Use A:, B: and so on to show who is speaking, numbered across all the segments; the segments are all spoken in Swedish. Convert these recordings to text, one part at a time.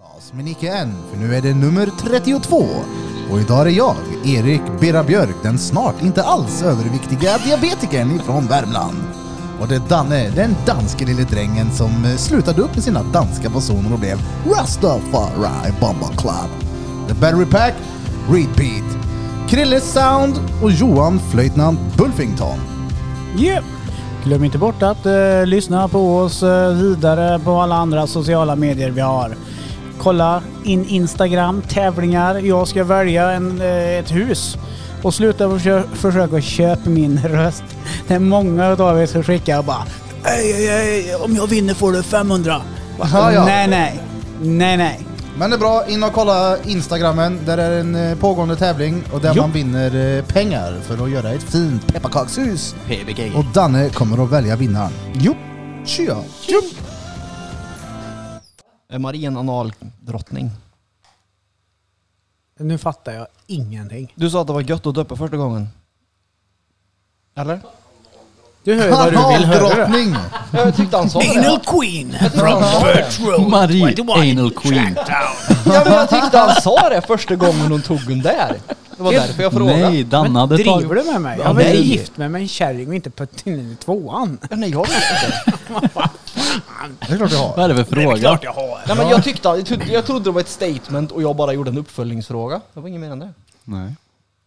A: oss, men icke än, för nu är det nummer 32. Och idag är det jag, Erik Bera Björk, den snart inte alls överviktiga diabetikern ifrån Värmland. Och det är Danne, den danske lille drängen som eh, slutade upp med sina danska fasoner och blev Rastafari Bomba Club. The Battery Pack, Repeat, Krille Sound och Johan Flöjtnant Bulfington.
B: Yeah. Glöm inte bort att eh, lyssna på oss eh, vidare på alla andra sociala medier vi har. Kolla in Instagram, tävlingar. Jag ska välja en, eh, ett hus och sluta försö- försöka köpa min röst. Det är många av er som skickar och bara ej, ej, ej, om jag vinner får du 500.
A: Ja, ja.
B: Nej, nej. Nej, nej.
A: Men det är bra, in och kolla Instagrammen. Där är en eh, pågående tävling och där
B: Jo.
A: man vinner eh, pengar för att göra ett fint pepparkakshus.
C: PBG.
A: Och Danne kommer att välja vinnaren. Jo, tja!
C: Marin analdrottning.
B: Nu fattar jag ingenting.
C: Du sa att det var gött att döpa första gången. Eller?
B: Du hör ju vad du vill höra.
A: Kanaldrottning!
C: Jag tyckte han sa
B: Anal Queen!
D: Marie Anal Queen.
C: Ja, men jag tyckte han sa det första gången hon tog den där. Det var därför jag frågade.
D: Nej, Danne
B: Men
D: hade
B: driver
D: tagit...
B: du med mig?
D: Ja,
B: Jag var ju
D: nej.
B: gift med mig en kärring och inte putt in i tvåan.
C: Ja, Nej, jag vet inte.
A: Det är klart jag har.
D: Vad är det för fråga?
B: jag har.
C: Nej, men jag, tyckte, jag trodde- jag trodde det var ett statement och jag bara gjorde en uppföljningsfråga. Det var inget mer än det.
D: Nej.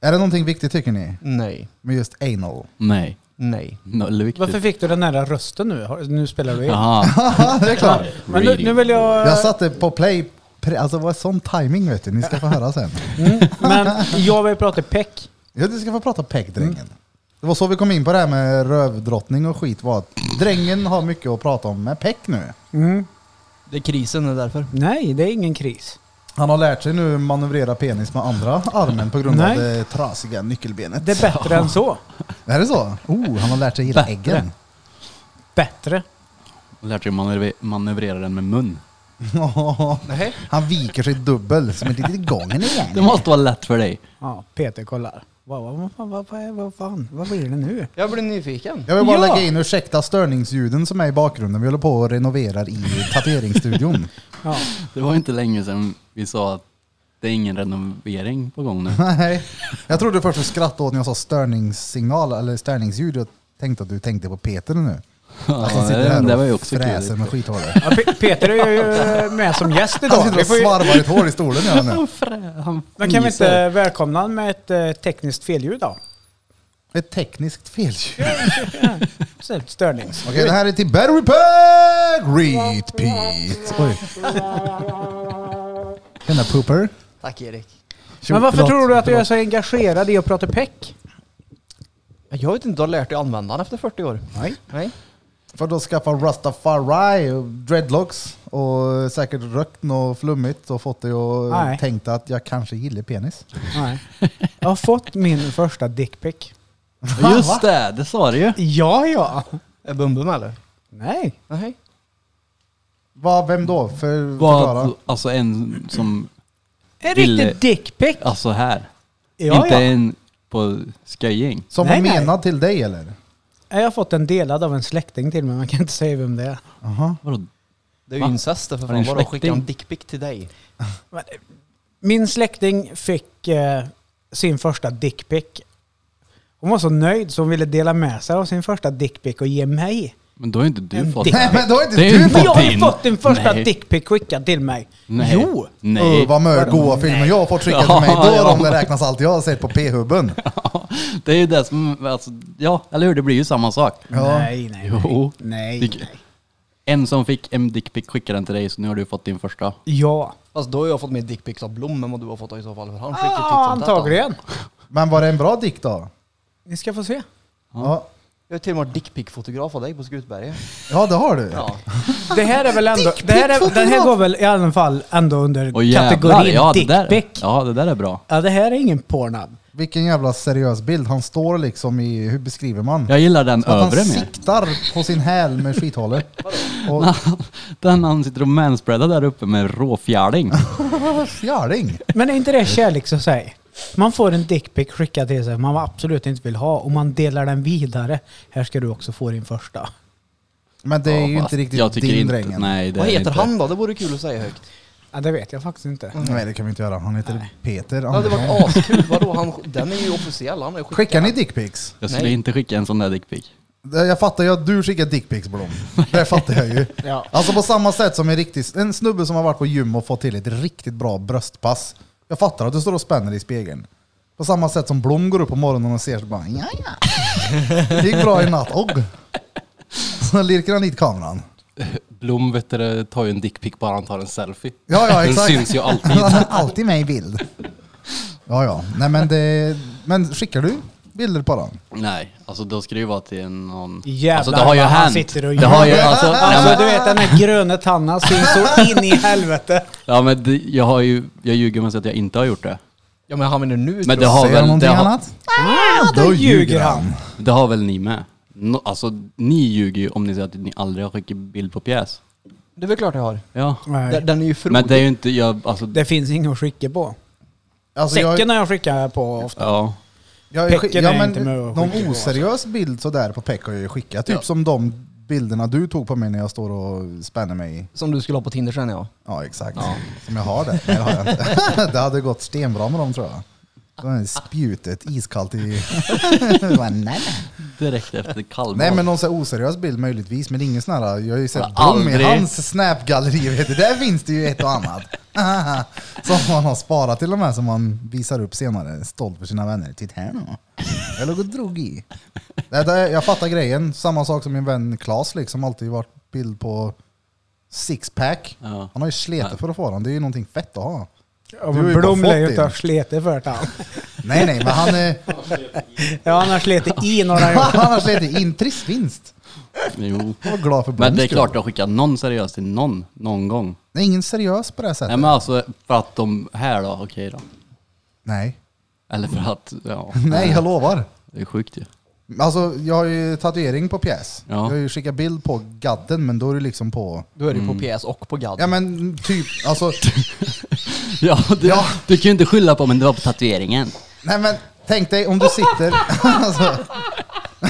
A: Är det någonting viktigt tycker ni?
C: Nej.
A: Med just anal?
D: Nej.
C: Nej.
D: Noll viktigt.
B: Varför fick du den där rösten nu? Har- Nu spelar du in.
D: Jaha.
A: Ja, det är klart.
B: Men nu, nu vill jag...
A: Jag satte på play. pre- Alltså vad är sån timing vet du? Ni ska få höra sen.
B: Men jag vill prata peck.
A: Ja, du ska få prata peckdrängen. Det var så vi kom in på det här med rövdrottning och skit var att drängen har mycket att prata om med peck nu. Mm.
C: Det är krisen, det är därför.
B: Nej, det är ingen kris.
A: Han har lärt sig nu manövrera penis med andra armen på grund
B: Nej.
A: av det trasiga nyckelbenet.
B: Det är bättre än så.
A: Är det så? Oh, han har lärt sig gilla
D: Bättre.
A: äggen.
B: Bättre.
D: Lärt dig manövre- manövrera den med mun.
C: Nej.
A: han viker sig dubbel som ett litet gången
D: Det
A: igen.
D: måste vara lätt för dig.
B: Ja, Peter kollar. Vad, vad, vad, fan- vad, vad, vad fan, vad blir det nu?
C: Jag blev nyfiken.
A: Jag vill bara
B: Ja.
A: lägga in ursäkta störningsljuden som är i bakgrunden. Vi håller på och renoverar i tatueringsstudion.
B: Ja.
D: Det var inte länge sedan vi sa att det är ingen renovering på gång nu.
A: Nej, jag trodde först du skrattade åt när jag sa störningssignal eller störningsljud. Jag tänkte att du tänkte på Peter nu.
D: Ja,
A: Att han sitter
D: det,
A: här
D: det var ju
A: och
D: också
A: fräser
D: kul.
A: med skithålet.
B: Ja, Pe- Peter är ju eh, med som gäst
A: Han
B: idag.
A: sitter
B: Vi
A: och
B: får ju,
A: svarvar ett hår i stolen gör han nu.
D: Han
B: men kan vi
D: fnyser.
B: inte välkomna honom med ett eh, tekniskt felljud då?
A: Ett tekniskt felljud.
B: Så här, Störnings.
A: Okej, det här är till Battery Pack Repeat. Oj. Den där pooper.
C: Tack Erik.
B: Men varför
A: Förlåt,
B: tror du att jag är
A: förlåt.
B: så engagerad i att prata peck?
C: Jag vet inte, du har lärt dig använda den efter 40 år.
B: Nej.
C: Nej.
A: För då skaffa Rastafari, och dreadlocks och säkert rökt något flummigt och fått dig
B: Nej.
A: att tänka att jag kanske gillar penis.
B: Nej. Jag har fått min första dickpick.
D: Just det, det sa du ju.
B: Ja, ja.
C: Är Bumbum eller?
B: Nej.
C: Nej.
A: Va, vem då? För, förklara.
D: Var, alltså en som,
B: En
D: Ville-
B: riktig dickpick.
D: alltså här.
B: Ja,
D: inte
B: ja.
D: en på sköjing.
A: Som
B: Nej,
A: var
B: nej.
A: menad till dig eller?
B: Jag har fått en delad av en släkting till mig, man kan inte säga vem det är.
A: Aha.
D: Vadå?
C: Det är
D: Va?
C: ju incest det för
D: Har ni
C: fan.
D: en
C: Vadå skicka en
D: släkting?
C: dickpic till dig?
B: Men, eh, Min släkting fick eh, sin första dickpick. Hon var så nöjd så hon ville dela med sig av sin första dickpick och ge mig.
D: Men då har inte du
B: En
D: fått
B: dick.
D: den.
A: Nej men då är inte
D: Det är ju
A: du
B: Men jag har ju
D: Din?
B: fått din första
D: Nej.
B: dickpick skickad till mig.
D: Nej.
B: Jo!
D: Nej.
A: Öh, vad mö, goa filmer jag har fått skicka till mig. Då
D: Ja,
A: är
D: ja.
A: de det räknas allt jag har sett på p-hubben.
D: Det är ju det som, alltså, ja eller hur, det blir ju samma sak.
A: Ja.
B: Nej, nej, nej.
D: Jo.
B: nej.
D: Dick- En som fick en dickpic skickade den till dig så nu har du fått din första.
B: Ja,
C: Fast då har jag fått mer dickpics av Blom än vad du har fått i så fall. För han skickar
D: typ
C: titt
B: ah,
C: som tätt, han.
B: antagligen.
A: Men var det en bra dikt då?
B: Ni ska få se.
A: Ja,
C: Jag har till och med varit dickpic-fotograf av dig på Skutberget.
A: ja det har du.
C: Ja.
B: Det här är väl ändå... Det här, är, den här går väl i alla fall ändå under
D: Och jävlar,
B: kategorin
D: ja, det där,
B: dickpick. Ja.
D: ja det där är bra.
B: det här är ingen pornab.
A: Vilken jävla seriös bild. Han står liksom i, hur beskriver man?
D: Jag gillar den
A: Som att han
D: övre mer.
A: siktar på sin häl med skithålet. Och
D: Den han sitter och manspreadar där uppe med råfjärding.
A: fjärding.
B: Men är inte det kärlek så säg? Man får en dickpic skickad till sig man absolut inte vill ha och man delar den vidare. Här ska du också få din första.
A: Men det är ju
D: Ja,
A: inte
D: fast
A: riktigt
D: jag tycker
A: din
D: inte-
A: drängen.
D: Nej, det
C: Vad
D: är
C: heter
D: inte.
C: han då? Det vore kul att säga högt.
B: Ja, det vet jag faktiskt inte.
A: Nej, det kan vi inte göra. Han heter Peter
C: Det hade
A: Andersson.
C: varit askul. Vadå? Han, den är ju officiell. Han är skickad.
A: Skickar ni dickpics?
D: Jag skulle
C: Nej.
D: inte skicka en sån där dickpic.
A: Jag fattar ju att du skickar dickpics Blom. Det fattar jag ju.
B: Ja.
A: Alltså på samma sätt som en, riktig, en snubbe som har varit på gym och fått till ett riktigt bra bröstpass. Jag fattar att du står och spänner i spegeln. På samma sätt som Blom går upp på morgonen och ser så bara ja ja. Det gick bra i natt. Och. Så lirkar han dit kameran.
E: Blom vet du, tar ju en dickpic bara han tar en selfie.
A: Ja, ja,
E: Den
A: exakt.
E: syns ju alltid.
A: Han har alltid med i bild. Ja, ja. Nej, men, det, men skickar du bilder på den?
D: Nej, alltså då ska det ju vara till någon...
B: Jävlar
D: alltså det har ju
B: vad han
D: hänt.
B: sitter och
D: Det har ju,
A: ljuger.
D: alltså, ja,
B: Alltså
D: men,
B: du vet den här gröna tannan syns så in i helvete.
D: ja, men det, jag, har ju, jag ljuger om jag säger att jag inte har gjort det.
C: Ja men han menar nu
D: Men
C: tror
D: det
C: jag.
D: har
A: Säger han
D: väl, det
A: någonting
D: har,
A: annat?
B: Ah, då ljuger han.
D: det har väl ni med? No, alltså ni ljuger ju om ni säger att ni aldrig har skickat bild på pjäs.
C: Det är väl klart jag har.
D: Ja.
C: Den,
B: Nej.
C: den är ju frodig.
D: Men det är ju inte, jag, alltså...
B: Det finns ingen att skicka på.
A: Alltså, jag-
B: Säcken har jag skickat på ofta.
D: Ja.
A: Jag,
B: Pecken
A: skick- ja,
B: är
A: men
B: inte med och
A: Någon
B: skickar alltså. på,
A: oseriös bild sådär på Peck har jag ju skickat. Typ som de bilderna du tog på mig när jag står och spänner mig. i-
C: Som du skulle ha på Tinder sen ja.
A: Ja exakt. Som jag har det. Nej, det, har jag inte. det hade gått stenbra med dem tror jag. Då är det Spjutet iskallt i... Bara, nej, nej.
D: Direkt efter Kalmar.
A: nej men någon så här oseriös bild möjligtvis, men det är ingen sån här, jag har ju sett
D: Ja,
A: Blom i
D: aldrig.
A: hans snapgalleri, vet du. där finns det ju ett och annat. som man har sparat till och med, som man visar upp senare, stolt för sina vänner. Titta här nu. Jag låg och drog i. Det, det, jag fattar grejen, samma sak som min vän Klas liksom, alltid varit bild på sixpack.
D: Ja.
A: Han har ju sletat för att få den, det är ju någonting fett att ha.
B: Ja,
A: Du har
B: men
A: ju bara
B: Blom
A: fått
B: lär ju inte
A: in.
B: ha sletit för det han.
A: Nej nej, men han, är,
B: Ja han har sletit i några gånger.
A: han har slitit in trist vinst.
D: Jo.
A: Jag var glad för
D: Men
A: Bloms
D: det är
A: skull.
D: klart, jag skickar någon seriöst till någon, någon gång.
A: Det är ingen seriös på det här sättet.
D: Nej men alltså för att de här då, okej då.
A: nej.
D: Eller för att, ja.
A: nej, jag lovar.
D: Det är sjukt ju.
A: Alltså jag har ju tatuering på pjäs.
D: Ja.
A: Jag har ju skickat bild på gadden men då är det liksom på...
C: Då är det ju
D: Mm.
C: på PS och på GAD.
A: Ja men typ, alltså...
D: Ja, du,
A: Ja.
D: du kan ju inte skylla på men det var på tatueringen.
A: nej men tänk dig om du sitter... alltså, nu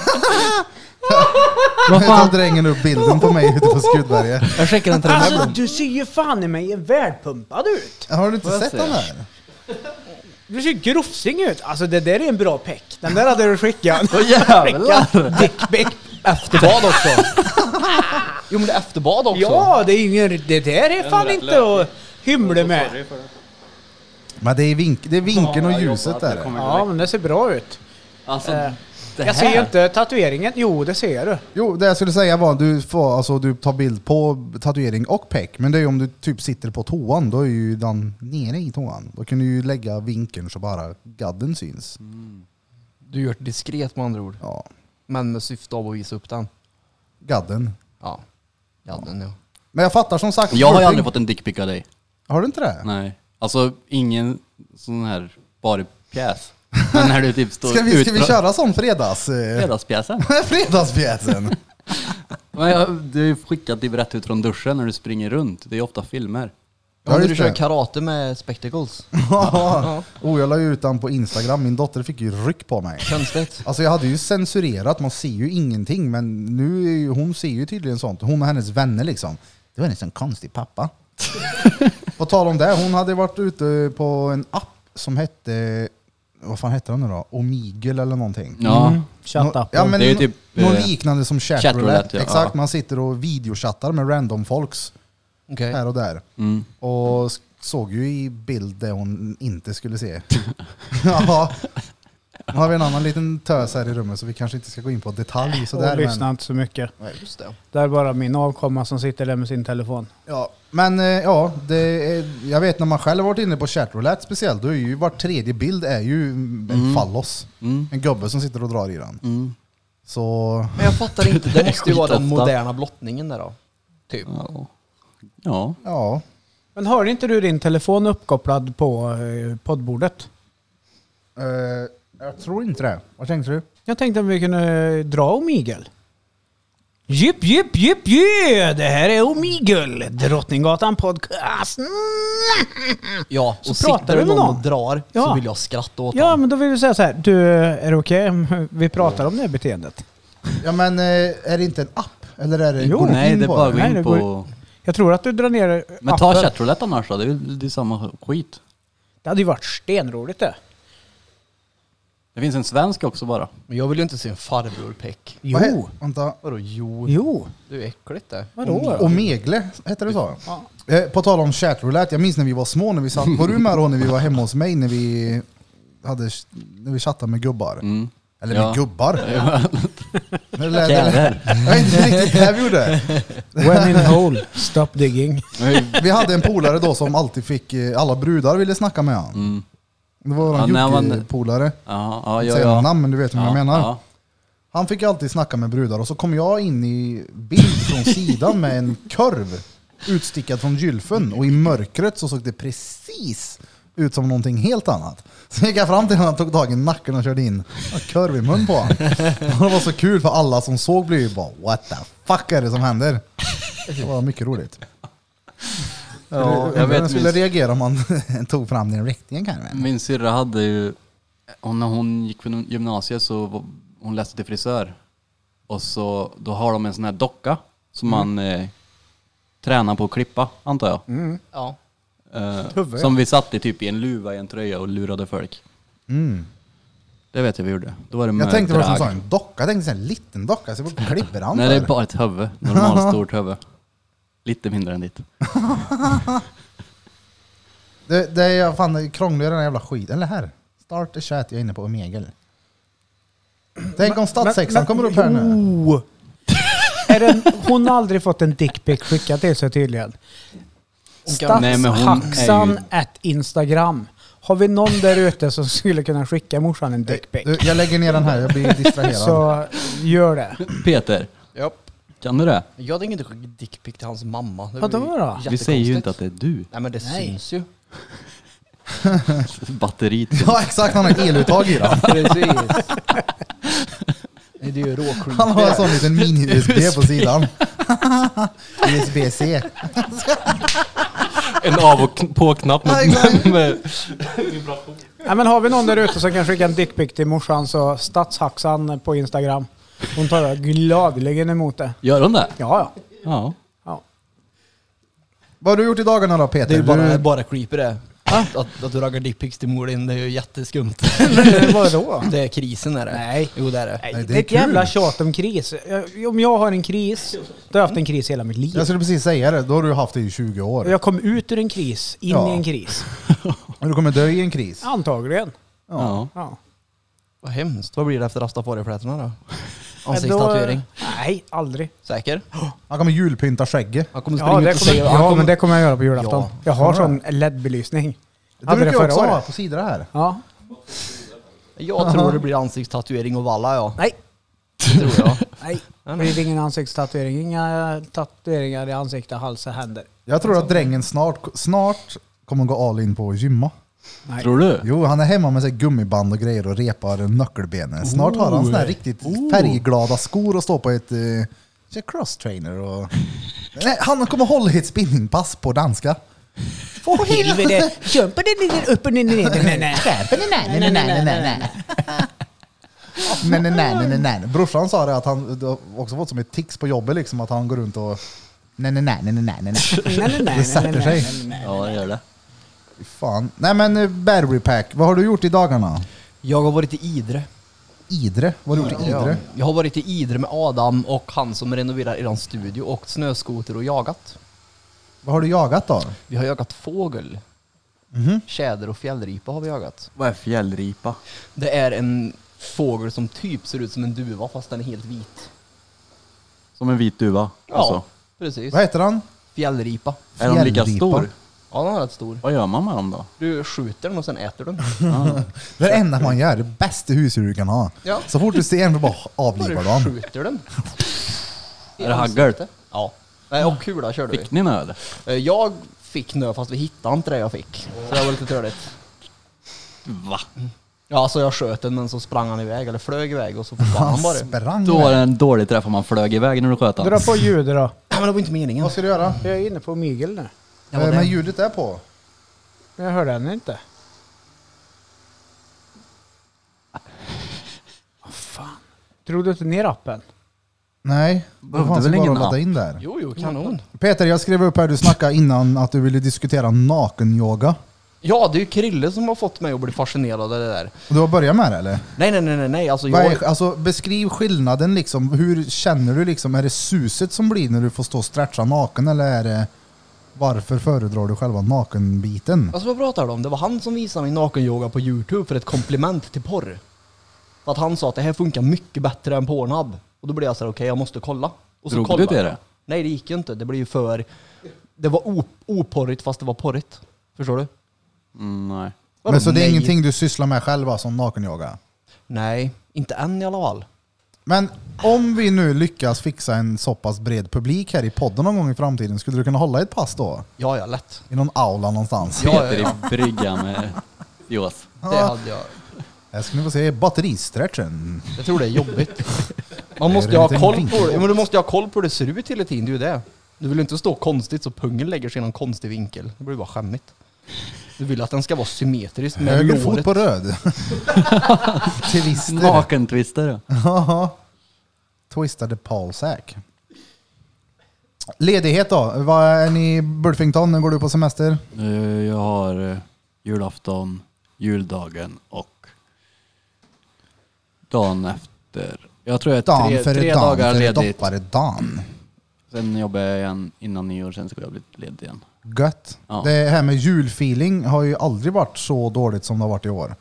D: Vad
A: tar
D: fan?
A: drängen upp bilden på mig ute på Skutberget.
C: Jag skickar den till den här
B: Alltså
C: Blom.
B: du ser ju fan i mig välpumpad ut.
A: Har du inte
D: Vad
A: sett
D: säger
A: den här?
B: Du ser grofsing ut. Alltså det där är en bra peck. Den där hade du skickat.
D: Åh jävlar!
B: Dickpic.
C: Efterbad också. Jo men det är efterbad också.
B: Ja det är ingen, det där är fan inte att hymla med.
A: Men det är, vink, det är vinkeln och ljuset där.
B: Ja men det ser bra ut.
D: Alltså,
B: Eh,
D: det
B: Jag ser ju
D: här.
B: inte tatueringen. Jo det ser du.
A: Jo, det jag skulle säga var att du, får, alltså, du tar bild på tatuering och peck. Men det är ju om du typ sitter på toan, då är ju den nere i toan. Då kan du ju lägga vinkeln så bara gadden syns.
C: Du gör det diskret med andra ord.
A: Ja,
C: Men med syfte av att visa upp den.
A: gadden.
C: Ja. Gadden ja.
A: Men jag fattar som sagt.
D: Jag har ju
A: Flirting-
D: aldrig fått en dickpic av dig.
A: Har du inte det?
D: Nej. Alltså ingen sån här bara pjäs. Men när du typ står
A: Ska vi, ska vi
D: utdra-
A: köra sån fredags... eh,
D: Fredagspjäsen.
A: Fredagspjäsen?
D: Men jag, du har ju skickat typ rätt ut från duschen när du springer runt. Det är ofta filmer.
A: Ja,
C: Ja, när
A: just
C: du
A: det.
C: kör karate med spectacles.
A: Ja. oh, jag la ju ut den på Instagram. Min dotter fick ju ryck på mig.
C: Konstigt.
A: Alltså jag hade ju censurerat, man ser ju ingenting. Men nu är ju, hon ser ju tydligen sånt. Hon och hennes vänner liksom. Det var en sån konstig pappa. på tal om det, hon hade varit ute på en app som hette... Vad fan hette den nu då? Omegle eller någonting.
D: Ja.
B: Chatta.
A: Nå- Ja, men
D: Det är ju
A: nå-
D: typ,
A: något
D: eh,
A: liknande som chat,
D: chatroulette,
A: roulette.
D: ja.
A: Exakt,
D: Ja.
A: man sitter och videochattar med random folks
C: Okej.
A: här och där.
D: Mm.
A: Och s- såg ju i bild det hon inte skulle se. ja. Nu har vi en annan liten tös här i rummet så vi kanske inte ska gå in på detalj sådär.
B: Och lyssna
A: Men,
B: inte så mycket.
C: Nej, Just det.
B: Det är bara min avkomma som sitter där med sin telefon.
A: ja. men eh, ja, det är, jag vet när man själv har varit inne på chatroulette speciellt, då är ju var tredje bild är ju en fallos.
D: Mm.
A: En gubbe som sitter och drar i den.
D: Mm.
A: Så
C: Men jag fattar inte. Det måste ju vara den
D: Skitofta. Mm.
C: moderna blottningen där då. Typ.
D: Ja. ja.
A: ja,
B: Men har inte du din telefon uppkopplad på eh, poddbordet?
A: eh, jag tror inte det. Vad tänkte du?
B: Jag tänkte att vi kunde eh, dra Omigel. Jipp, jipp, jipp, jö! Det här är Omigel, Drottninggatan podcast.
C: Ja,
B: Så
C: och
B: pratar
C: sitter
B: du med
C: det någon
B: någon?
C: och drar
B: Ja.
C: så vill jag skratta åt
B: Ja,
C: honom.
B: men då vill vi säga så här. Du, är det okej om vi pratar om det här beteendet?
A: Ja men eh, är det inte en app? Eller är det,
B: Jo,
A: går du
D: Nej,
A: in
D: det är
A: på den?
D: bara att
B: Nej,
D: gå
B: det
D: in
B: går-
D: på...
B: Jag tror att du drar ner
D: Men ta
B: appen.
D: chatroulette annars då, det är, ju- det är samma skit.
B: Det hade ju varit stenroligt det.
D: Det finns en svensk också bara.
C: Men jag vill ju inte se en farbror peck.
B: Jo.
A: Vad he- Vänta.
C: Vadå jo?
B: Jo.
C: Du är äckligt det.
B: Vadå? då?
A: Omegle heter det så? Eh, på tal om chatroulette, jag minns när vi var små, när vi satt, var du med då när vi var hemma hos mig när vi, hade, när vi chattade med gubbar?
D: Mm.
A: Eller med
D: Ja.
A: gubbar? När det lät-
D: Jävlar.
A: Jag vet inte riktigt det här vi gjorde.
B: When in hole, stop digging.
A: Vi hade en polare då som alltid fick, eh, alla brudar ville snacka med han.
D: Mm.
A: Det var våran
D: Ja, när man-
A: Jocke-polare.
D: Ja, ja,
A: Jag
D: ja.
A: säger
D: ja.
A: några namn men du vet vad jag
D: Ja,
A: menar.
D: ja.
A: Han fick alltid snacka med brudar och så kom jag in i bild från sidan med en korv utstickad från gylfen och i mörkret så såg det precis ut som någonting helt annat. Så gick jag fram till honom, tog tag i nacken och körde in en korv i mun på honom. Och Det var så kul för alla som såg blev ju bara what the fuck är det som händer? Det var mycket roligt.
D: Ja, jag
A: Undrar hur
D: vet,
A: den skulle
D: min,
A: reagera om man tog fram den riktiga korven.
D: min syrra hade ju, hon, när hon gick på gymnasiet så var, hon läste till frisör. Och så, då har de en sån här docka som
A: Mm.
D: man eh, tränar på att klippa, antar jag.
A: Mm.
C: Ja.
D: Eh,
B: Huvud,
D: som vi satte typ i en luva i en tröja och lurade folk.
A: Mm.
D: Det vet jag vi gjorde. Då var det med
A: Jag tänkte på det som
D: drag.
A: sa en docka, jag tänkte en liten docka, så jag bara klipper han
D: Nej, det är
A: för?
D: bara ett huvud. Normalt stort huvud. Lite mindre än ditt.
A: Det, det är fan det är krångligare än den jävla skit. Eller här. Start a chat, jag är inne på Omegel. Tänk om statssexan kommer upp här nu.
D: Oh!
B: Jo. Är den, hon har aldrig fått en dickpic skickad till sig tydligen.
C: kan-
D: Nej, men hon
B: Statshaxan
D: är ju-
B: at Instagram. Har vi någon där ute som skulle kunna skicka morsan en dickpic
A: Du, jag lägger ner den här, jag blir distraherad.
B: så gör det.
D: Peter,
C: Japp.
D: kan du det?
C: Jag tänker inte skicka dickpic till hans mamma. Det
B: Vadå
C: blir
B: då?
D: Vi
C: jättekonstigt.
D: säger ju inte att det är du.
C: Nej men det
B: Nej.
C: syns ju.
D: Batteriet.
A: Ja exakt, han har eluttag i den.
C: Precis. Nej, det är ju råsjukt.
A: Han har en sån liten mini-USB på sidan. USB-C.
E: En av och kn- på-knapp med, med, med
B: Nej, men har vi någon där ute som kan skicka en dickpic till morsan så statshaxan på Instagram. Hon tar gladeligen emot det.
D: Gör hon det?
B: Ja, ja.
D: Ja.
B: ja.
A: Vad har du gjort i dagarna då Peter?
C: Det är ju bara,
A: du,
C: bara creepy det. Att, att, att du raggar dickpics till mor din, det är ju jätteskumt.
B: eh, Vadå?
C: Det är krisen är det.
B: Nej.
C: Jo det är det.
B: Nej, det
A: är
B: är ett
A: kul.
B: jävla tjat om kris. Jag- Om jag har en kris, då har jag haft en kris hela mitt liv.
A: jag skulle precis säga det, då har du haft det i 20
B: Och
A: år.
B: Jag kom ut ur en kris, in
A: Ja.
B: i en kris.
A: Och du kommer dö i en kris.
B: Antagligen.
D: ja.
B: Ja.
C: Vad hemskt. Vad blir det efter rastafari-flätorna då?
B: Men då-
C: Ansiktstatuering.
B: Nej, aldrig.
C: Säker?
A: Han kommer julpynta skägget.
C: Han kommer springa
B: Ja,
C: ut
B: det
C: och
B: kommer,
C: säga... han
B: ja, men
C: kommer-
B: det kommer jag göra på julafton.
C: Ja.
B: jag har
A: Kommer
B: sån LED-belysning.
A: Det
B: Hade
A: brukar
B: det
A: jag
B: förra
A: också ha
B: året.
A: på sidan här.
B: Ja.
C: Jag tror det blir ansiktstatuering och valla ja.
B: Nej,
C: Det tror jag.
B: nej. Det blir ingen ansiktstatuering. Inga tatueringar i ansikte, hals och händer.
A: Jag tror att drängen snart, snart kommer gå all in på att gymma.
B: Nej.
D: Tror du?
A: Jo, han är hemma med sig gummiband och grejer och repar nyckelbenen. Snart har han såna här riktigt färgglada skor och står på ett eh, cross trainer och... Nej, han kommer hålla i ett spinningpass på danska.
B: Åh helvete! Jumpa den ner, upp och ner, ner, ner, ner, ner.
A: Nej, nej, nej, nej, nej. Nej, nej, nej, nej, nej, nej. Brorsan sa det att han det har också fått som ett tics på jobbet liksom att han går runt och... Nej, nej, nej, nej, nej, nej, nej.
B: Nej, nej, nej, nej,
A: Det sätter
B: nej,
A: sig.
B: nej, nej.
D: Ja, det gör det.
A: Fy Fan. Nej men eh, battery pack, vad har du gjort i dagarna?
C: Jag har varit i Idre.
A: Idre? Vad har du gjort i
C: Ja.
A: Idre?
C: Jag har varit i Idre med Adam och han som renoverar eran studio, åkt snöskoter och jagat.
A: Vad har du jagat då?
C: Vi har jagat fågel.
A: Mhm.
C: Tjäder och fjällripa har vi jagat.
D: Vad är fjällripa?
C: Det är en fågel som typ ser ut som en duva fast den är helt vit.
D: Som en vit duva?
C: Ja,
D: Alltså.
C: precis.
A: Vad heter han?
C: Fjällripa.
D: Är de lika
A: Fjällripa.
D: stor?
C: Ja, den är rätt stor.
D: Vad gör man med dem då?
C: Du skjuter den och sen äter du den.
A: Det är det enda man gör, det bästa husdjur du kan ha.
C: Ja.
A: Så fort du ser en så bara avlivar du
C: Bara
A: honom.
C: skjuter den. I
D: Är det
C: ansiktet.
D: haggel?
C: Ja. Nej, och kula körde vi.
D: Fick ni något eller?
C: Eh, Jag fick nö fast vi hittade inte det jag fick. Så det var lite törligt.
D: Va?
C: Ja, alltså jag sköt den men så sprang han iväg, eller flög iväg och så försvann han
A: Han
C: bara.
A: sprang
D: Då var det
A: iväg.
D: en dålig träff om man flög iväg när du sköt
B: Dra
D: han.
B: på ljudet då.
C: Ja, men det var inte meningen.
A: Vad ska du göra?
B: Jag är inne på mygel nu.
C: Jag var
A: Eh, Men
C: där.
A: ljudet är på.
B: Men jag hörde henne inte. Vad fan. Drog du inte ner appen?
A: Nej, då
D: Behövde
A: fanns
D: väl
A: det bara
D: ingen
A: att ladda
D: app?
A: in där.
C: Jo, jo, kanon.
A: Peter, jag skrev upp här, du snackade innan att du ville diskutera nakenyoga.
C: Ja, det är ju Krille som har fått mig att bli fascinerad av det där.
A: Och Du har börjat med det eller?
C: Nej, nej, nej, nej, nej. Alltså,
A: Vad
C: jag,
A: är, alltså, beskriv skillnaden liksom. Hur känner du liksom? Är det suset som blir när du får stå och stretcha naken eller är det varför föredrar du själva nakenbiten?
C: alltså vad pratar du om? Det var han som visade mig nakenyoga på Youtube för ett komplement till porr. För att han sa att det här funkar mycket bättre än Pornhub. Och då blev jag så här, okej, jag måste kolla. Och så
D: Drog
C: kollade
D: du till
C: jag.
D: det?
C: Nej, det gick ju inte. Det blev ju för... Det var op- oporrigt fast det var porrigt. Förstår du?
D: Mm, nej.
C: Vadå,
A: Men så det är
C: nej?
A: ingenting du sysslar med själva som nakenyoga?
C: Nej, inte än i alla fall.
A: Men om vi nu lyckas fixa en så pass bred publik här i podden någon gång i framtiden, skulle du kunna hålla ett pass då?
C: Ja, ja, lätt.
A: I någon aula någonstans?
C: Ja, ja,
D: Peter i brygga med Joas.
C: Det hade jag.
A: Här ska ni få se batteristretchen.
C: Jag tror det är jobbigt. Man
A: Det
C: måste
A: är
C: ju
A: en liten
C: ha koll på
A: vinkelbåt.
C: det. Men du måste ju ha koll på hur det ser ut hela tiden, det är ju det. Du vill ju inte stå konstigt så pungen lägger sig i någon konstig vinkel. Det blir bara skämmigt. Du vill att den ska vara symmetrisk med
A: Höger fot
C: låret.
A: på röd. Till vänster.
D: Nakentwister.
A: Jaha. Twistade Paul Sack. Ledighet då? Vad är ni i Bulfington? När går du på semester?
D: Eh, Jag har eh, julafton, juldagen och dagen efter. Jag tror jag
A: Dan
D: är tre,
A: före
D: tre
A: dan
D: dagar
A: före
D: ledigt.
A: doppare dan.
D: Sen jobbar jag igen innan nyår, sen ska jag bli ledig igen.
A: Gött.
D: Ja.
A: Det här med julfeeling har ju aldrig varit så dåligt som det har varit i år.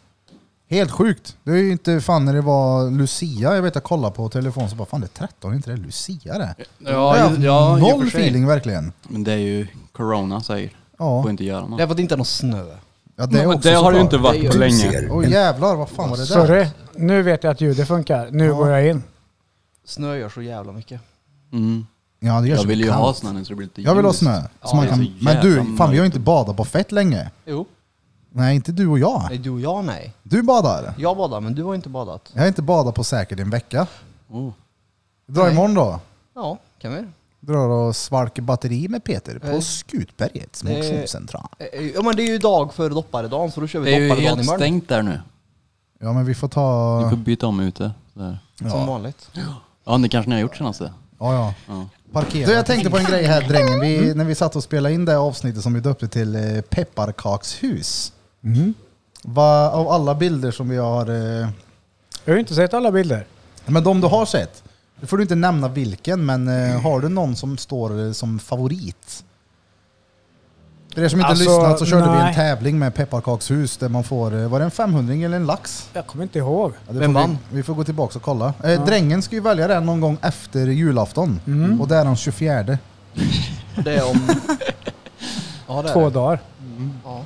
A: Helt sjukt. Det är ju inte fan när det var Lucia. Jag vet jag kollade på telefon så bara fan det är 13, inte det är Lucia det.
D: Ja,
A: Jag har noll feeling verkligen.
D: Men det är ju corona säger.
A: Ja,
D: Får inte göra något.
C: Det är för att det inte är någon snö.
A: ja det är också
E: det har det ju
A: såklart.
E: inte
C: Det är
E: varit på
C: ju-
E: länge.
A: Oj jävlar, vad fan var det där?
B: Sorry, nu vet jag att ljudet funkar. Nu
A: Ja.
B: går jag in.
C: Snö gör så jävla mycket.
D: Mm.
A: Ja, det gör
D: Jag
A: så
D: vill ju
A: kallt.
D: ha snön så det blir lite
A: Jag vill ha
D: ljust.
A: snö. så
C: Ja,
A: man
D: det är
A: kan...
D: så
A: Men du, fan
D: jävla
A: vi har ju
D: mörkt.
A: inte badat på fett länge.
C: Jo,
A: Nej, inte du och jag.
C: nej du och jag nej.
A: Du badar.
C: Jag badar men du har inte badat.
A: Jag har inte badat på säkert en vecka.
D: Oh.
A: Dra
C: Nej.
A: imorgon då.
C: Ja, kan vi. Eh,
A: Drar och svalkar batteri med Peter på
C: Nej.
A: Skutbergets
C: Nej.
A: motionscentral.
C: Eh, Ja men det är ju dag för dopparedagen så då kör
D: Det är
C: vi
D: ju
C: dopparedagen
D: helt
C: imorgon.
D: stängt där nu.
A: Ja men vi får
D: Du
A: ta...
D: får byta om ute. Där.
C: Som
A: Ja,
C: vanligt.
D: Ja, det kanske ni har gjort senaste.
A: ja. ja.
D: Ja.
A: Parkera. Mm. Du, jag tänkte på en grej här drängen. Vi, När vi satt och spelade in det här avsnittet som vi döpte till eh, Pepparkakshus. Mm. Va, av alla bilder som vi har... Eh,
B: Jag har ju inte sett alla bilder.
A: men de du har sett. Nu får du inte nämna vilken, men eh, har du någon som står eh, som favorit? För er som inte
B: Alltså,
A: lyssnat så körde vi en
B: nej.
A: tävling med pepparkakshus där man får, eh, var det en 500 eller en lax?
B: Jag kommer inte ihåg.
A: Ja, det
C: Vem
A: får vi-
C: vann?
A: Vi får gå tillbaka och kolla. Eh, Drängen ska ju välja den någon gång efter julafton.
B: Mm.
A: Och det är den 24.
C: Det är om... Ja, det är
B: Två
C: det.
B: dagar.
C: Ja.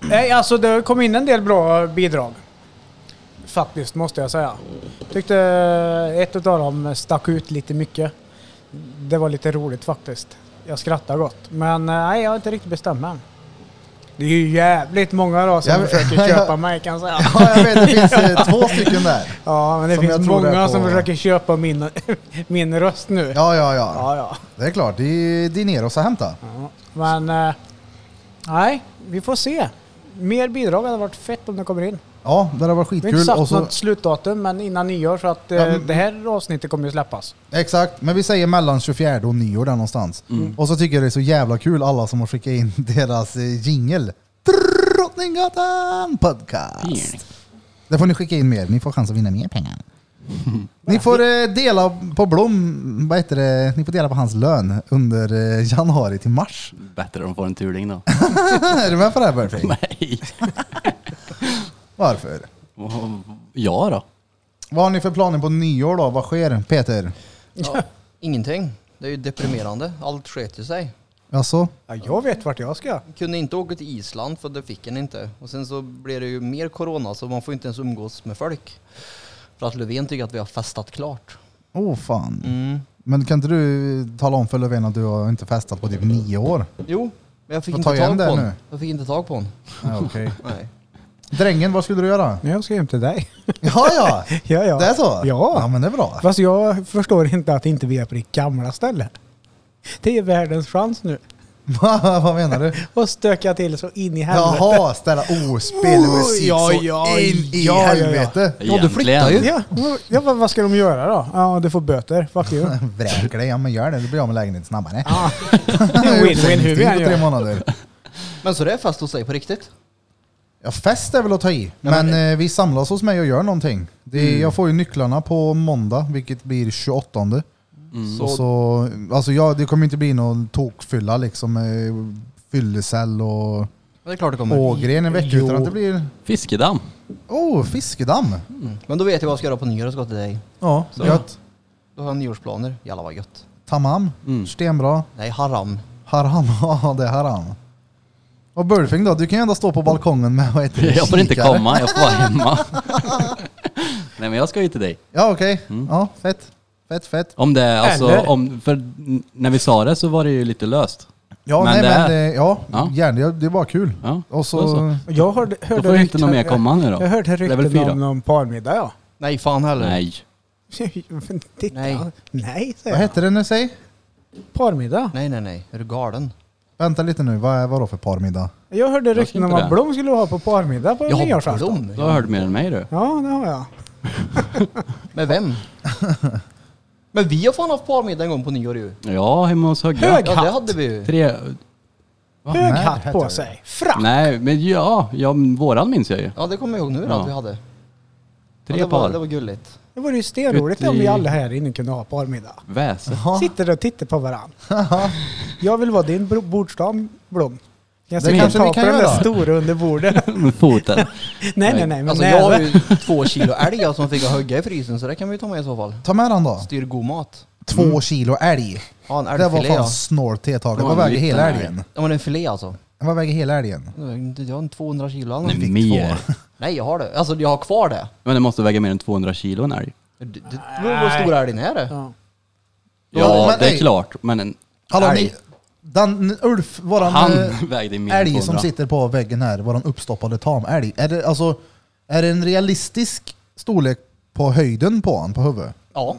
B: Nej, alltså det kom in en del bra bidrag. Faktiskt, måste jag säga. Tyckte ett av dem stack ut lite mycket. Det var lite roligt faktiskt. Jag skrattar gott. Men eh, nej, jag har inte riktigt bestämt mig än. Det är ju jävligt många då som
A: Jag vet-
B: försöker köpa mig kan jag säga.
A: Ja, jag vet. Det finns eh, två stycken där.
B: Ja, men det
A: Som jag
B: finns
A: tror det är
B: många
A: på-
B: som försöker köpa min, min röst nu.
A: Ja, ja, ja.
B: ja. ja.
A: Det är klart. Det är Dineros att hämta.
B: Ja, Men eh, nej, vi får se. Mer bidrag hade varit fett om det kommer in.
A: Ja, det har varit
B: Vi har inte
A: skitkul.
B: satt
A: Och så,
B: något slutdatum, men innan nyår så att eh,
A: Ja, men-
B: det här avsnittet kommer ju släppas.
A: exakt. Men vi säger mellan 24 och nyår där någonstans.
B: Mm.
A: Och så tycker jag det är så jävla kul alla som har skickat in deras eh, jingel. Drottninggatan podcast. Där får ni skicka in mer. Ni får chans att vinna mer pengar. Ni får eh, dela på Blom, vad heter det, ni får dela på hans lön under eh, januari till mars.
D: Bättre om de får en turning då.
A: är du med på det här Burfing?
D: Nej.
A: Varför?
D: Ja då.
A: Vad har ni för planer på nyår då? Vad sker Peter?
C: Ja, ingenting. Det är ju deprimerande. Allt sket ju sig.
A: Alltså,
B: Ja, jag vet vart jag ska.
C: Kunde inte åka till Island för det fick en inte. Och sen så blir det ju mer corona så man får inte ens umgås med folk. För att Löfven tycker att vi har festat klart. Mm.
A: oh fan. Men kan inte du eh, tala om för Löfven att du har inte festat på typ nio år?
C: Jo, men jag fick
A: Får
C: inte
A: ta igen
C: tag på
A: det
C: honom.
A: nu.
C: Jag fick inte tag på honom.
A: Ja, okej.
C: Nej.
A: Drängen, vad skulle du göra?
B: Nej, jag ska hem till dig.
A: Ja, ja!
B: ja, ja.
A: Det är så? ja
B: Ja.
A: men det är bra.
B: Fast jag förstår inte att inte vi är på ditt gamla ställe. Det är världens chans nu.
A: Va? Vad menar du?
B: Och stöka till så in i helvete.
A: Jaha, ställa ospel
B: Oh,
A: musik
B: ja,
A: så
B: ja,
A: in i
B: ja, ja, ja.
A: helvete.
C: Ja, du flyttar ju.
B: Ja, ja, vad vad ska de göra då? Ja, du får böter. Fuck you.
A: Vräker dig, ja men gör det. Du blir av med lägenheten snabbare.
B: Ja. Win-win hur vi
A: Uppsägningstid
B: än
A: på tre
B: gör.
A: månader.
C: Men så det är fest hos dig på riktigt?
A: Ja, fest är väl att ta i. Men, eh, vi samlas hos mig och gör någonting. Det,
B: Mm.
A: Jag får ju nycklarna på måndag, vilket blir 28.
D: Mm.
A: Så, så, alltså jag, det kommer inte bli någon tokfylla liksom. eh, Fyllecell och
C: Ja, det är klart det kommer.
A: Ågren en vecka.
B: Jo.
A: Utan att det blir...
D: Fiskedamm.
A: Oh, fiskedamm!
C: Mm. Men då vet jag vad jag ska göra på nyårsgott till dig.
A: Ja,
C: Så.
A: gött.
C: Då har jag nyårsplaner. Jalla vad gött.
A: Tamam.
D: Mm.
A: Stenbra.
C: Nej, haram.
A: Haram. Ja, det är haram. Och Burfing då? Du kan ju ändå stå på balkongen med vad heter det,
D: Jag får inte
A: kikare.
D: komma, jag får vara hemma. Nej men jag ska ju till dig.
A: Ja, okej.
D: Mm.
A: Ja, fett. Fett, fett.
D: Om det, alltså,
B: Eller?
D: om, för n- när vi sa det så var det ju lite löst.
A: Ja,
D: Men
A: nej,
D: det
A: men,
D: är-
A: eh, ja,
D: Ja.
A: gärna. Ja, Det är bara kul.
D: Ja,
A: Och
D: då
A: så...
D: så.
B: Och Jag hörde, hörde
D: Då får ju inte
B: rykten-
D: någon mer komma nu
B: Jag
D: då.
B: hörde
D: Level
B: rykten
D: fyra.
B: om någon parmiddag ja.
C: Nej, fan heller.
D: Nej.
B: Titta.
C: Nej.
B: Nej,
A: Vad
B: säger jag.
A: hette det nu, säg?
B: Parmiddag.
C: Nej, nej, nej. Är du galen?
A: Vänta lite nu, vad är vad då för parmiddag?
B: Jag hörde
D: ska
B: rykten om
D: inte
B: att
D: det.
B: Blom skulle ha på parmiddag på
C: Jag har
B: nyårsafton.
C: blom.
D: Du har hört mer än mig du.
B: Ja, det har jag.
C: Med vem? Men vi har fan haft parmiddag en gång på nyår ju.
D: Ja, hemma hos Högga.
B: Hög
C: Ja, det
B: hatt.
C: hade vi ju.
D: Tre...
B: Hög
A: Nej,
B: hatt
A: hette
B: på
A: det.
B: sig. Frack.
D: Nej, men ja, ja, våran minns jag ju.
C: Ja, det kommer jag ihåg nu då,
D: Ja.
C: att vi hade.
D: Tre
C: ja, det Var,
D: par.
C: det var gulligt.
B: Det vore ju stenroligt om
D: Ut i-
B: vi alla här inne kunde ha parmiddag.
D: Väse.
B: Sitter och tittar på varandra. jag vill vara din bro- bordsdam, Blom. Jag
A: Det
B: ska
A: kanske
B: ta
A: vi
B: på
A: kan
B: den
A: göra.
B: där stora under bordet.
D: Med foten.
B: nej, nej, nej. Men
C: Alltså
B: nej,
C: jag har ju två kilo älg som fick jag hugga i frysen så det kan vi ju ta med i så fall.
A: Ta med den då.
C: Styr god mat.
A: Två
D: Mm.
A: kilo älg.
C: Ja en
A: Det var
C: älgfilé
A: fan
C: ja.
A: snort till ett tag. Det
D: Ja,
A: var
D: en
A: väger
D: liten
A: hela
D: älg.
A: älgen.
C: Ja men en filé alltså.
A: Det var väger hela älgen.
C: Jag vet inte, Jag har en 200 kilo eller någonting.
D: Nej, mer.
C: Nej jag har det. Alltså jag har kvar det.
D: Men det måste väga mer än 200 kilo en älg.
C: Det- det- Det beror på hur stor älgen är det.
B: Ja.
A: Ja,
D: Ja,
A: men
D: det är
A: ej.
D: klart. Men en
A: Hallå,
D: älg.
A: ni, Dan, Ulf, våran
D: Han
A: eh,
D: vägde mer än
A: älg
D: 200.
A: som sitter på väggen här, våran uppstoppade tamälg. Är det, alltså, är det en realistisk storlek på höjden på han på huvudet?
C: Ja.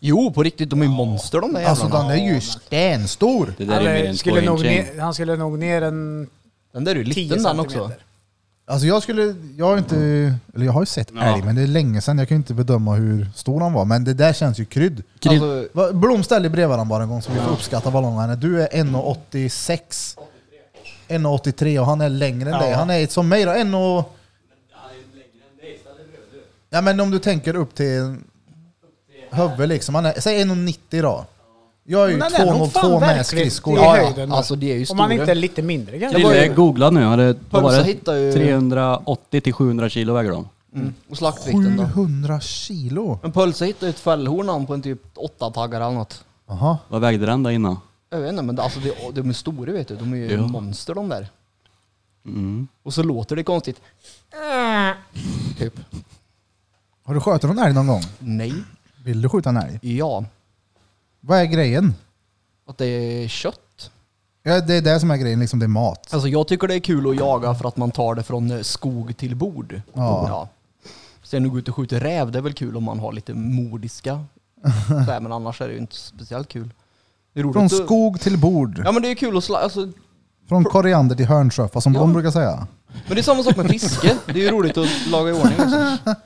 C: Jo på riktigt, de är ju monster de där
A: Alltså
C: jävlarna.
A: den är ju stenstor!
D: Det där är mer
B: Han,
D: än
B: skulle nog
D: 2 inch.
B: ner, han skulle nog ner en
C: Den där är ju
B: 10
C: liten den också.
B: centimeter.
A: Alltså jag skulle, jag har inte, eller jag har ju sett älg men det är länge sedan, jag kan ju inte bedöma hur stor han var. Men det där känns ju krydd.
D: Grill-
C: Alltså,
A: Va- Blom ställ dig bredvid varandra bara en gång så vi får uppskatta vad lång han är. Du är 1,86. 1,83 och han är längre än dig. Han är som mig då, 1 och... Ja men om du tänker upp till huvudet liksom. Han är, säg 1,90 då. Jag är ju
B: Men han är nog fan
A: 2,02 med
B: verkligt
A: skridskor.
B: i
A: Ja, ja.
B: höjden.
C: alltså det är ju
B: Om man
C: stora.
B: inte är lite mindre kanske.
C: var
D: Krille
C: ju-
D: googla nu. Har det, vad var
C: Pölsa
D: det?
C: hittar ju-
D: 380 till 700 kilo väger de.
C: Mm. Och slaktvikten då.
A: 700 kilo!
C: Men Pölse hittade ju ett fällhorn han på en typ åtta taggar eller något.
A: Jaha.
D: Vad vägde den då innan?
C: Jag vet inte men det, alltså det, de är stora vet du. De är ju
D: Ja.
C: monster de där.
D: Mm.
C: Och så låter det konstigt. Typ.
A: Har du skjutit någon älg någon gång?
C: Nej.
A: Vill du skjuta en älg?
C: Ja.
A: Vad är grejen?
C: Att det är kött.
A: Ja, det är det som är grejen, liksom det är mat.
C: Alltså jag tycker det är kul att jaga för att man tar det från eh, skog till bord.
A: Ja.
C: Sen att gå ut och skjuta räv, det är väl kul om man har lite mordiska. Så här, men annars är det ju inte speciellt kul. Det är roligt
A: Från
C: att-
A: skog till bord.
C: Ja men det är kul att sla- alltså,
A: Från koriander till hörnsjöfar som
C: Ja.
A: de brukar säga.
C: Men det är samma sak med fiske. Det är ju roligt att laga i ordning också. Det är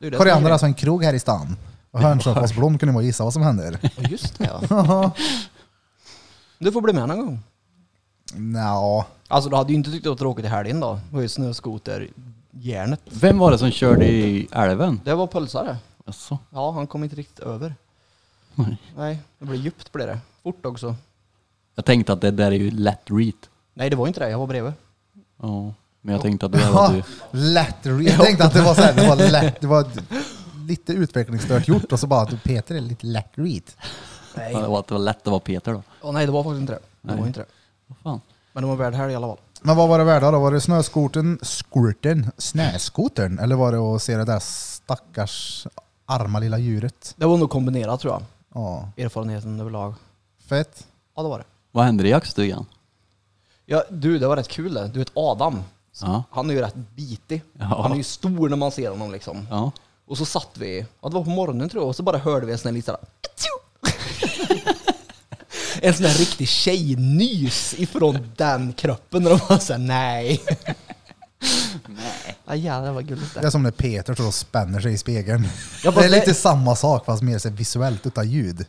C: ju det som är
A: Koriander är
C: grejen.
A: alltså en krog här i stan. Och hörnsjöfars blom kunde man gissa vad som händer.
C: Ja, just det ja. Du får bli med någon gång.
A: Nja,
C: Alltså du hade ju inte tyckt att det var tråkigt i helgen då. Det var ju snöskoter, järnet.
D: Vem var det som körde i älven?
C: Det var pölsare.
D: Alltså.
C: Ja, han kom inte riktigt över.
D: Nej.
C: Nej, det blev djupt blev det. Fort också.
D: Jag tänkte att det där är ju lätt reat.
C: Nej, det var inte det. Jag var bredvid.
D: Ja. Men jag tänkte att det där var du.
A: lätt. re- Jag tänkte att det var så här, det var lätt. Det var lite utvecklingsstört gjort och så bara att Peter är lite lätt reat.
C: Nej.
D: Ja, det var- Att det var lätt att vara Peter då.
C: Åh, nej, det var faktiskt inte det. Det
D: Nej.
C: var inte det.
D: Vad fan?
C: Men det var värd helg i alla fall.
A: Men vad var det värda då? Var det snöskotern, squirten, snöskotern? Eller var det att se det där stackars arma lilla djuret?
C: Det var nog kombinerat tror jag.
A: Ja,
C: Erfarenheten överlag.
A: fett.
C: Ja, det var det.
D: Vad händer i jaktstugan?
C: Ja, du, det var rätt kul det. Du vet Adam.
D: Ja.
C: Han är ju rätt bitig.
D: Ja.
C: Han är ju stor när man ser honom liksom.
D: Ja.
C: Och så satt vi, ja det var på morgonen tror jag, och så bara hörde vi en sån här liten såhär, en sån där riktig tjejnys ifrån den kroppen. Och de bara såhär, nej. Nej. Ah, jävlar vad gulligt det
A: Det
C: är.
A: är som när Peter står och spänner sig i spegeln.
C: Ja, fast
A: det är
C: det-
A: lite samma sak fast mer så här visuellt utan ljud.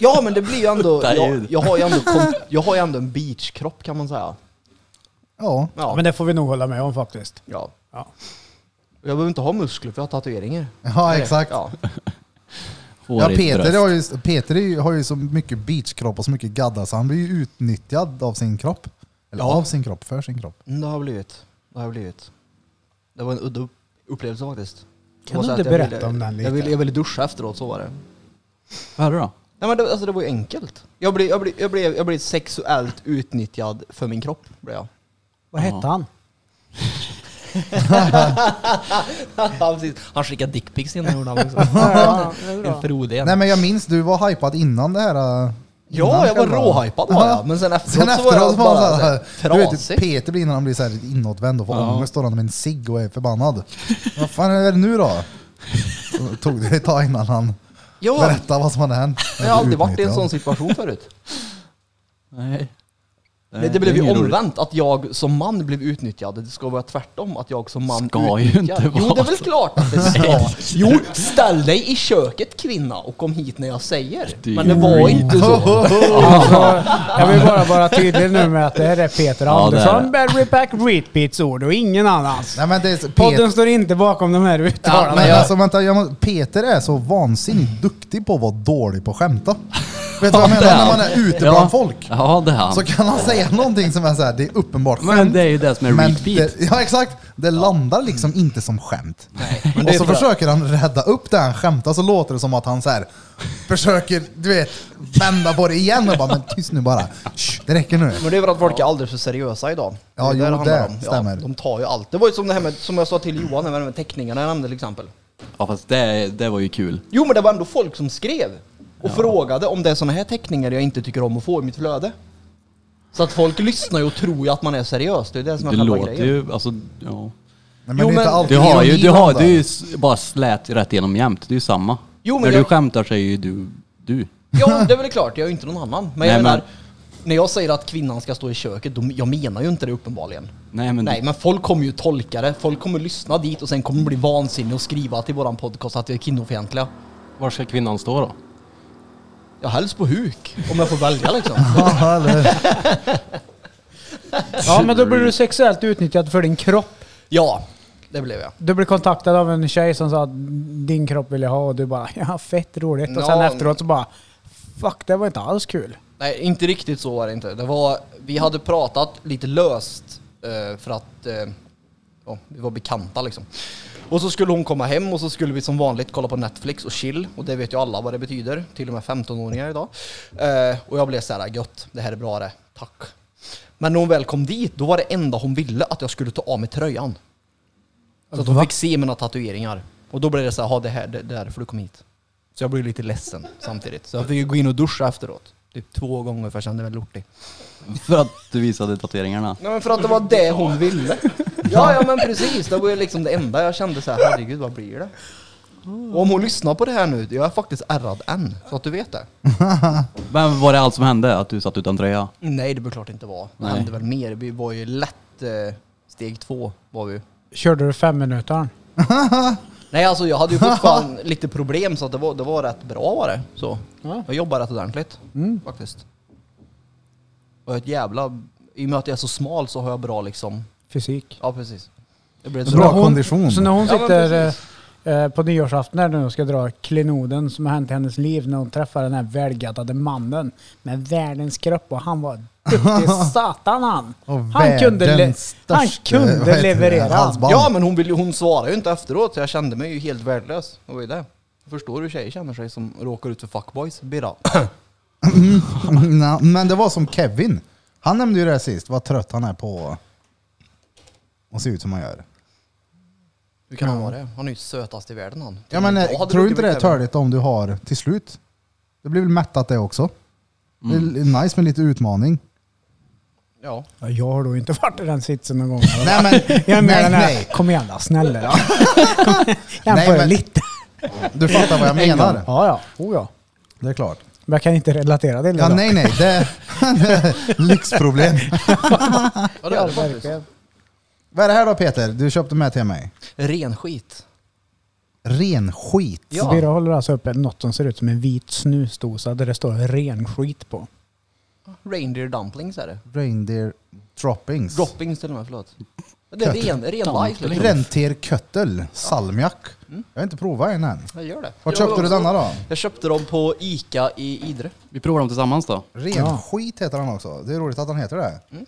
C: Ja men det blir ju ändå,
D: Där är
C: jag,
D: ljud.
C: jag, har, ju ändå kom, jag har ju ändå en beachkropp kan man säga.
A: Ja.
C: Ja.
B: Men det får vi nog hålla med om faktiskt.
C: ja.
B: Ja.
C: Jag behöver inte ha muskler för jag har tatueringar.
A: Ja,
C: Nej,
A: exakt.
C: Ja.
A: Ja,
D: Hårigt
A: Peter,
D: bröst.
A: har ju, Peter är ju, har ju så mycket beachkropp och så mycket gadda så han blir ju utnyttjad av sin kropp. Eller
C: Ja.
A: av sin kropp, för sin kropp.
C: Mm, Det har jag blivit. Det har jag blivit. Det var en udda upp- upplevelse faktiskt. Det
B: Kan
C: var
B: du
C: så
B: inte
C: att jag
B: berätta
C: ville-
B: om den lite?
C: Jag ville, jag ville duscha efteråt, så var det.
D: Vad hade du då?
C: Nej men det, alltså, det var ju enkelt. Jag blev, jag, blev, jag, blev, jag blev sexuellt utnyttjad för min kropp. Blev jag.
B: Vad hette han?
C: Ja, precis. han skickade dickpics innan gjorde han också.
B: Ja, det är
C: En
B: bra.
C: Frode
A: Nej
C: Nej,
A: men jag minns, du var hypad innan det här. äh, innan
C: Ja, jag var
A: själva-
C: råhypad var
A: Ja.
C: jag. Men sen efteråt,
A: Sen
C: så var
A: efteråt
C: jag
A: var
C: bara
A: han
C: så här, typ
A: såhär, du vet
C: trasig.
A: ju, Peter blir när han blir såhär inåtvänd och får ångest, står han med en cigg och är förbannad. vad fan är det nu då? Så Tog det ett tag innan han
C: ja,
A: berättade vad som hade hänt.
C: jag har aldrig varit i en
A: Utnyttjad.
C: sån situation förut.
D: Nej.
C: Nej, det blev
D: är
C: ju
D: ingen rolig-
C: omvänt, att jag som man blev utnyttjad. Det ska vara tvärtom, att jag som man
D: Ska ju
C: utnyttjar.
D: inte
C: Jo,
D: vara
C: det är väl klart att det ska. jo, ställ dig i köket kvinna och kom hit när jag säger.
D: Det är
C: Men det var
D: ju-
C: inte så.
B: Alltså, jag vill bara vara tydlig nu med att det här är Peter
D: Ja, det är
B: Andersson,
D: det.
B: Barry Pack Repeats ord och ingen annans.
A: Nej men det är så- Peter,
B: Podden står inte bakom de här
A: Ja,
B: uttalandena.
A: men alltså, vänta, jag må, Peter är så vansinnigt duktig på att vara dålig på att skämta. Vet du vad jag menar?
D: det är
A: När
D: han.
A: man är ute
D: Ja.
A: bland folk
D: Ja, det är han.
A: så kan han säga någonting som är så här, det är uppenbart skämt.
D: Men det är ju det som är
A: men
D: repeat.
A: det- ja exakt, det landar liksom inte som skämt.
C: men
A: och
C: det
A: så
C: tror jag.
A: försöker han rädda upp det han skämtar så låter det som att han så här, försöker, du vet, vända på det igen och bara men tyst nu bara. Shh, det räcker nu.
C: Men det är väl att folk är alldeles för seriösa idag.
A: Ja,
C: är
A: jo,
C: där handlar
A: det
C: om.
A: stämmer.
C: Ja, de tar ju allt. Det var ju som det här med, som jag sa till Johan, med de här teckningarna jag nämnde till exempel.
D: Ja, fast det, det var ju kul.
C: Jo, men det var ändå folk som skrev och frågade om det är såna här teckningar jag inte tycker om att få i mitt flöde. Så att folk lyssnar ju och tror ju att man är seriös. Det är det som är
D: Det
C: själva
D: låter
C: grejen.
D: ju, alltså, ja.
A: Nej, men
C: Jo,
A: det är inte
C: men-
A: alltid
D: Du har ju,
A: ironi
D: du har,
A: blandad.
D: du är ju s- bara slät rätt igenom jämt. Det är ju samma.
C: Jo, men
D: När
C: jag-
D: du skämtar så är ju du, du.
C: Ja, det är väl klart. Jag är ju inte någon annan. Men jag
D: Nej,
C: menar,
D: men-
C: när jag säger att kvinnan ska stå i köket, då, jag menar ju inte det uppenbarligen.
D: Nej men,
C: Nej, men folk kommer ju tolka det. Folk kommer lyssna dit och sen kommer de bli vansinniga och skriva till våran podcast att vi är kvinnofientliga.
E: Var ska kvinnan stå då?
C: Jag helst på huk, om jag får välja liksom.
A: Ja, eller-
B: Ja, men då blir du sexuellt utnyttjad för din kropp.
C: Ja, det blev jag.
B: Du blir kontaktad av en tjej som sa att din kropp vill jag ha och du bara ja, fett roligt. Och sen
C: Ja.
B: efteråt så bara fuck, det var inte alls kul.
C: Nej, inte riktigt så var det inte. Det var, vi hade pratat lite löst eh, för att eh, ja, vi var bekanta liksom. Och så skulle hon komma hem och så skulle vi som vanligt kolla på Netflix och chill. Och det vet ju alla vad det betyder. Till och med 15-åringar idag. Eh, och jag blev så här, gött, det här är bra det, tack. Men när hon väl kom dit, då var det enda hon ville att jag skulle ta av mig tröjan. Så att hon fick se mina tatueringar. Och då blev det så här, "Ha, det här, det, det är därför du kom hit. Så jag blev lite ledsen samtidigt. Så jag fick ju gå in och duscha efteråt. Typ två gånger för jag kände mig lortig.
D: för att du visade tatueringarna.
C: Nej men för att det var det hon ville. Ja, ja men precis. Det var ju liksom det enda jag kände så här, herregud vad blir det? Och om hon lyssnar på det här nu, jag är faktiskt ärrad än. Så att du vet det.
D: Men var det allt som hände? Att du satt utan tröja?
C: Nej det bör klart inte vara. Det
D: Nej.
C: hände väl mer. Vi var ju lätt eh, steg två var vi ju.
B: Körde du fem minuter?
C: Nej alltså jag hade ju fortfarande lite problem så att det var, det var rätt bra var det. Så.
B: Ja.
C: Jag jobbar rätt ordentligt
A: Mm.
C: faktiskt. Och jag är ett jävla... I och med att jag är så smal så har jag bra liksom...
B: Fysik.
C: Ja precis. Det blir
A: Så
C: ett
A: bra
B: när hon,
A: kondition.
B: Så när hon
C: Ja, men
B: sitter
C: precis.
B: eh, på nyårsafton här nu och ska dra klenoden som har hänt i hennes liv när hon träffar den här välgaddade mannen med världens kropp och han var duktig satan han.
A: Och
B: han kunde, le-
A: världens
B: han
A: största, vad heter
B: kunde
A: det,
B: leverera.
A: halsband.
C: Ja men hon, vill, ju- hon svarade ju inte efteråt så jag kände mig ju helt värdelös. Det var ju det. Jag förstår hur tjejer känner sig som råkar ut för fuckboys. Birra.
A: Nej, men det var som Kevin. Han nämnde ju det här sist, vad trött han är på att se ut som han gör.
C: Hur kan han vara det? Han är ju sötast i världen han.
A: Ja, men, eh, tror du inte det är törligt om du har till slut? Det blir väl mättat det också? Det är nice med lite utmaning.
C: Ja.
B: Ja, jag har då inte varit i den sitsen någon gång.
A: Nej men,
B: Jag är med
A: nej,
B: den här.
A: nej.
B: Kom igen då, snälla. då. Kom igen.
A: Nej,
B: Jämför
A: men-
B: lite.
A: Du fattar vad jag menar.
B: Ja, ja. Oh, ja.
A: Det är klart.
B: Men jag kan inte relatera till det.
A: Ja,
B: dock.
A: nej, nej. Det lyxproblem.
C: Ja, det
B: Ja,
C: är det faktiskt.
B: verkligen.
A: Vad är det här då Peter? Du köpte med till mig.
C: Ren skit.
A: Ren skit.
C: Ja.
B: Birra håller alltså upp något som ser ut som en vit snusdosa där det står renskit på.
C: Reindeer dumplings är det.
A: Reindeer droppings.
C: Droppings till och med, förlåt. Det är ren, ren bajs liksom.
A: Rentierköttel. Salmiak. Jag har inte provat en än.
C: Jag gör det.
A: Vart
C: Jag
A: köpte du
C: också-
A: denna då?
C: Jag köpte dem på Ica i Idre.
D: Vi provar dem tillsammans då.
A: Ren
B: Ja.
A: skit heter han också. Det är roligt att han heter det.
C: Mm.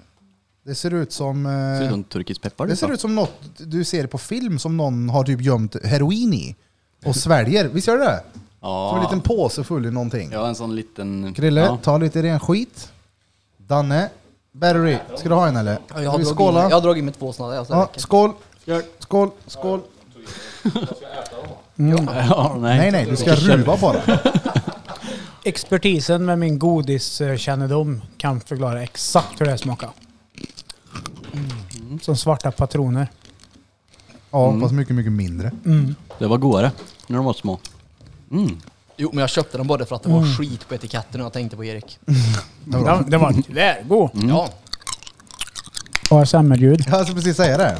A: Det ser ut som... eh,
D: Ser ut som turkisk peppar.
A: Det
D: typ,
A: ser
D: va?
A: ut som något du ser på film som någon har typ gömt heroin i och sväljer. Visst gör det det? Som en
D: Ja.
A: liten påse full i någonting.
D: ja, en sån liten...
A: Krille,
D: Ja.
A: ta lite ren skit. Danne, Barry, ska du ha en eller?
C: Ja,
A: Ska
C: Jag har,
A: vi
C: dragit in,
A: skåla?
C: jag har dragit in mig två sådana där. alltså. Så det
A: Ja,
C: räcker.
A: skål! Skål, skål!
D: ja, nej.
A: Nej, nej, du ska ruva på
D: Mm.
A: det.
B: Expertisen med min godiskännedom kan förklara exakt hur det här smakar. Som svarta patroner.
A: Ja, fast mycket, mycket mindre.
D: Det var godare när de var små. Mm.
C: Jo, men jag köpte dem både för att det var
A: Mm.
C: skit på etiketten och jag tänkte på Erik.
B: Den, den var tvärgod.
A: Mm.
C: Ja.
B: Bara semmelljud.
A: Jag skulle precis säga det.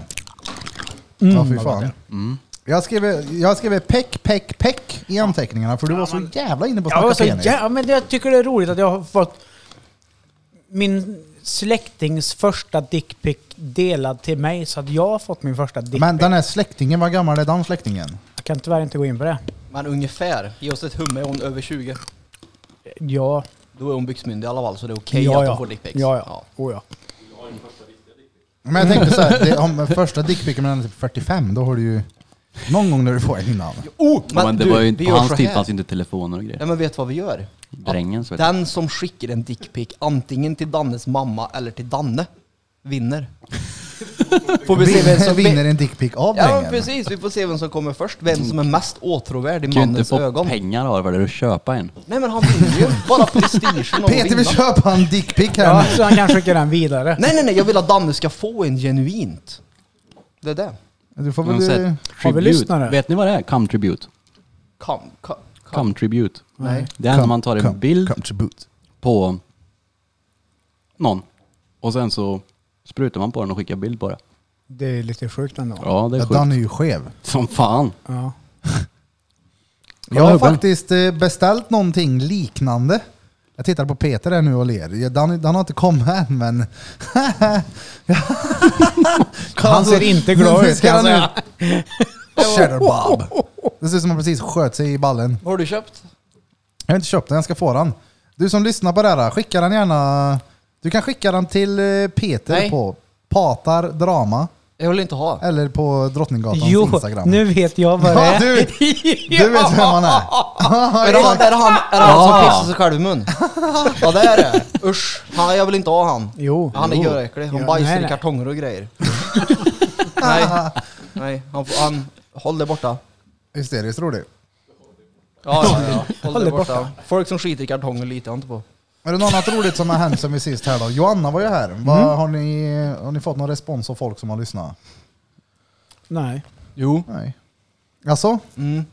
A: ja, fy fan. Jag skrev, jag skrev peck, peck, peck i anteckningarna för du var så jävla inne på
B: Jag var
A: att
B: så
A: snacka penis.
B: jä- men jag tycker det är roligt att jag har fått min släktings första dickpic delad till mig så att jag har fått min första dickpic.
A: Men den här släktingen, vad gammal är den släktingen?
B: Jag kan tyvärr inte gå in på det.
C: Men ungefär. Ge oss ett hum. Är hon över 20?
B: Ja,
C: Då är hon byxmyndig i alla fall, så det är okej
B: ja,
C: att
B: ja.
C: hon får dickpics.
B: Ja, ja. Oh, ja.
A: Men jag tänkte så här, det, om första dickpicken är typ 45, då har du ju någon gång när du får en innan.
C: Oh,
D: Men, det var ju
C: vi
D: inte, på
C: gör
D: hans
C: så
D: tid
C: här.
D: fanns ju inte telefoner och grejer.
C: Nej men vet du vad vi gör?
D: Drängen så vet
C: Den som skickar en dickpic antingen till Dannes mamma eller till Danne vinner. Får vi se vem
A: Vinner,
C: som
A: vinner en dickpick av
C: Ja
A: drängen.
C: men precis, vi får se vem som kommer först. Vem som är mest åtråvärd i
D: Du kan ju inte
C: mannens
D: få
C: ögon.
D: pengar av det för att köpa en.
C: Nej men han vinner ju. Bara prestigen av att
A: Peter vill
C: vinna.
A: köpa en dickpick här
B: ja
A: nu.
B: så han kan skicka den vidare.
C: Nej nej nej, jag vill att Danne ska få en genuint. Det är det.
A: Du får
D: Någon
A: väl...
D: sätt-
A: eh,
B: Har vi
D: Tribute.
B: lyssnare?
D: Vet ni vad det är? Come tribute.
C: Kom, kom, kom.
D: Come tribute.
A: Nej.
D: Det är när man tar en
A: Come-
D: bild
A: come to boot.
D: på någon och sen så sprutar man på den och skickar bild på det.
B: Det är lite sjukt ändå.
D: Ja, det är
A: Ja,
D: sjukt.
A: den är ju skev.
D: Som fan.
B: Ja.
A: Jag har
D: Hubben.
A: faktiskt eh, beställt någonting liknande. Jag tittar på Peter här nu och ler. Ja, Dan, Dan har inte kommit än men...
B: Han ser inte glad ut, kan jag säga.
A: Cheddar Bob. Det ser ut som han precis sköt sig i ballen.
C: Vad har du köpt?
A: Jag har inte köpt den, jag ska få den. Du som lyssnar på det här, skicka den gärna. Du kan skicka den till eh, Peter
C: Nej.
A: på Patar Drama
C: Jag vill inte ha.
A: eller på Drottninggatans
B: Jo,
A: Instagram.
B: nu vet jag vad det
A: Ja,
B: är.
A: du, du vet vem han är.
C: Är det han, är det han, är det han som pissar sig själv i mun? Ja det är det. Usch. Han, jag vill inte ha han.
B: Jo.
C: Han är
B: Jo.
C: göräcklig. Han
B: Ja,
C: bajsar
B: nej,
C: i
B: nej.
C: kartonger och grejer. nej. Nej. Han, får- han, håll det borta.
A: Hysteriskt rolig.
C: Ja, ja, ja. Håll,
B: Håll
C: det
B: det
C: borta.
B: borta.
C: Folk som skiter i kartonger litar jag inte på.
A: Är det något annat roligt som har hänt sen vi sist här då? Joanna var ju här. Vad, har, ni, har ni fått någon respons av folk som har lyssnat?
B: Nej.
C: Jo.
A: Nej. Alltså?
C: Mm.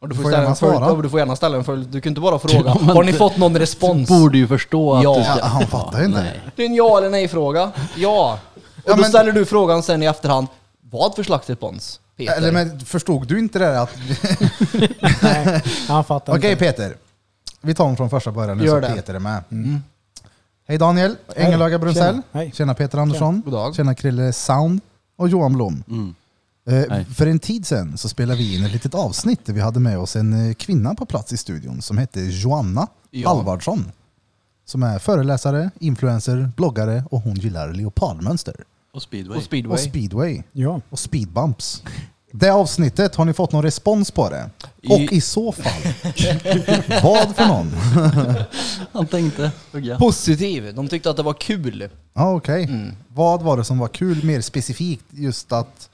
C: Och du, får
A: Får
C: ställa
A: gärna
C: en följd,
A: svara.
C: ja, du får gärna ställa en följd. Du kan inte bara fråga.
D: Ja, men
C: Har ni
D: det-
C: fått någon respons?
D: Borde ju förstå att
C: Ja.
D: du ska...
A: Han fattar ju inte.
D: Nej.
C: Det är en ja eller nej-fråga. Ja. Och
A: Ja,
C: då
A: men-
C: ställer du frågan sen i efterhand. Vad för slags respons? Peter.
A: Eller men förstod du inte det där att...
B: Nej. Han fattar
A: Okej
B: inte.
A: Peter. Vi tar dem från första början nu
C: Gör
A: så
C: det.
A: Peter är med. Mm. Hej Daniel, Engelaga Brunsell.
B: Tjena. Hej.
A: Tjena Peter Andersson.
C: God dag.
A: Tjena Krille Sound. Och Johan Blom.
D: Mm.
A: Eh,
D: Hej.
A: för en tid sedan så spelade vi in ett litet avsnitt där vi hade med oss en eh, kvinna på plats i studion som hette Joanna
D: Ja.
A: Alvardsson. Som är föreläsare, influencer, bloggare och hon gillar leopardmönster.
D: Och speedway.
C: Och speedway.
A: Och speedway.
B: Ja.
A: Och speedbumps. Det avsnittet, har ni fått någon respons på det? Och
D: I-
A: i så fall, vad för någon?
D: Han tänkte. Hugga.
C: Positiv. De tyckte att det var kul.
A: Ja, okej.
D: Mm.
A: Vad var det som var kul mer specifikt? Just att...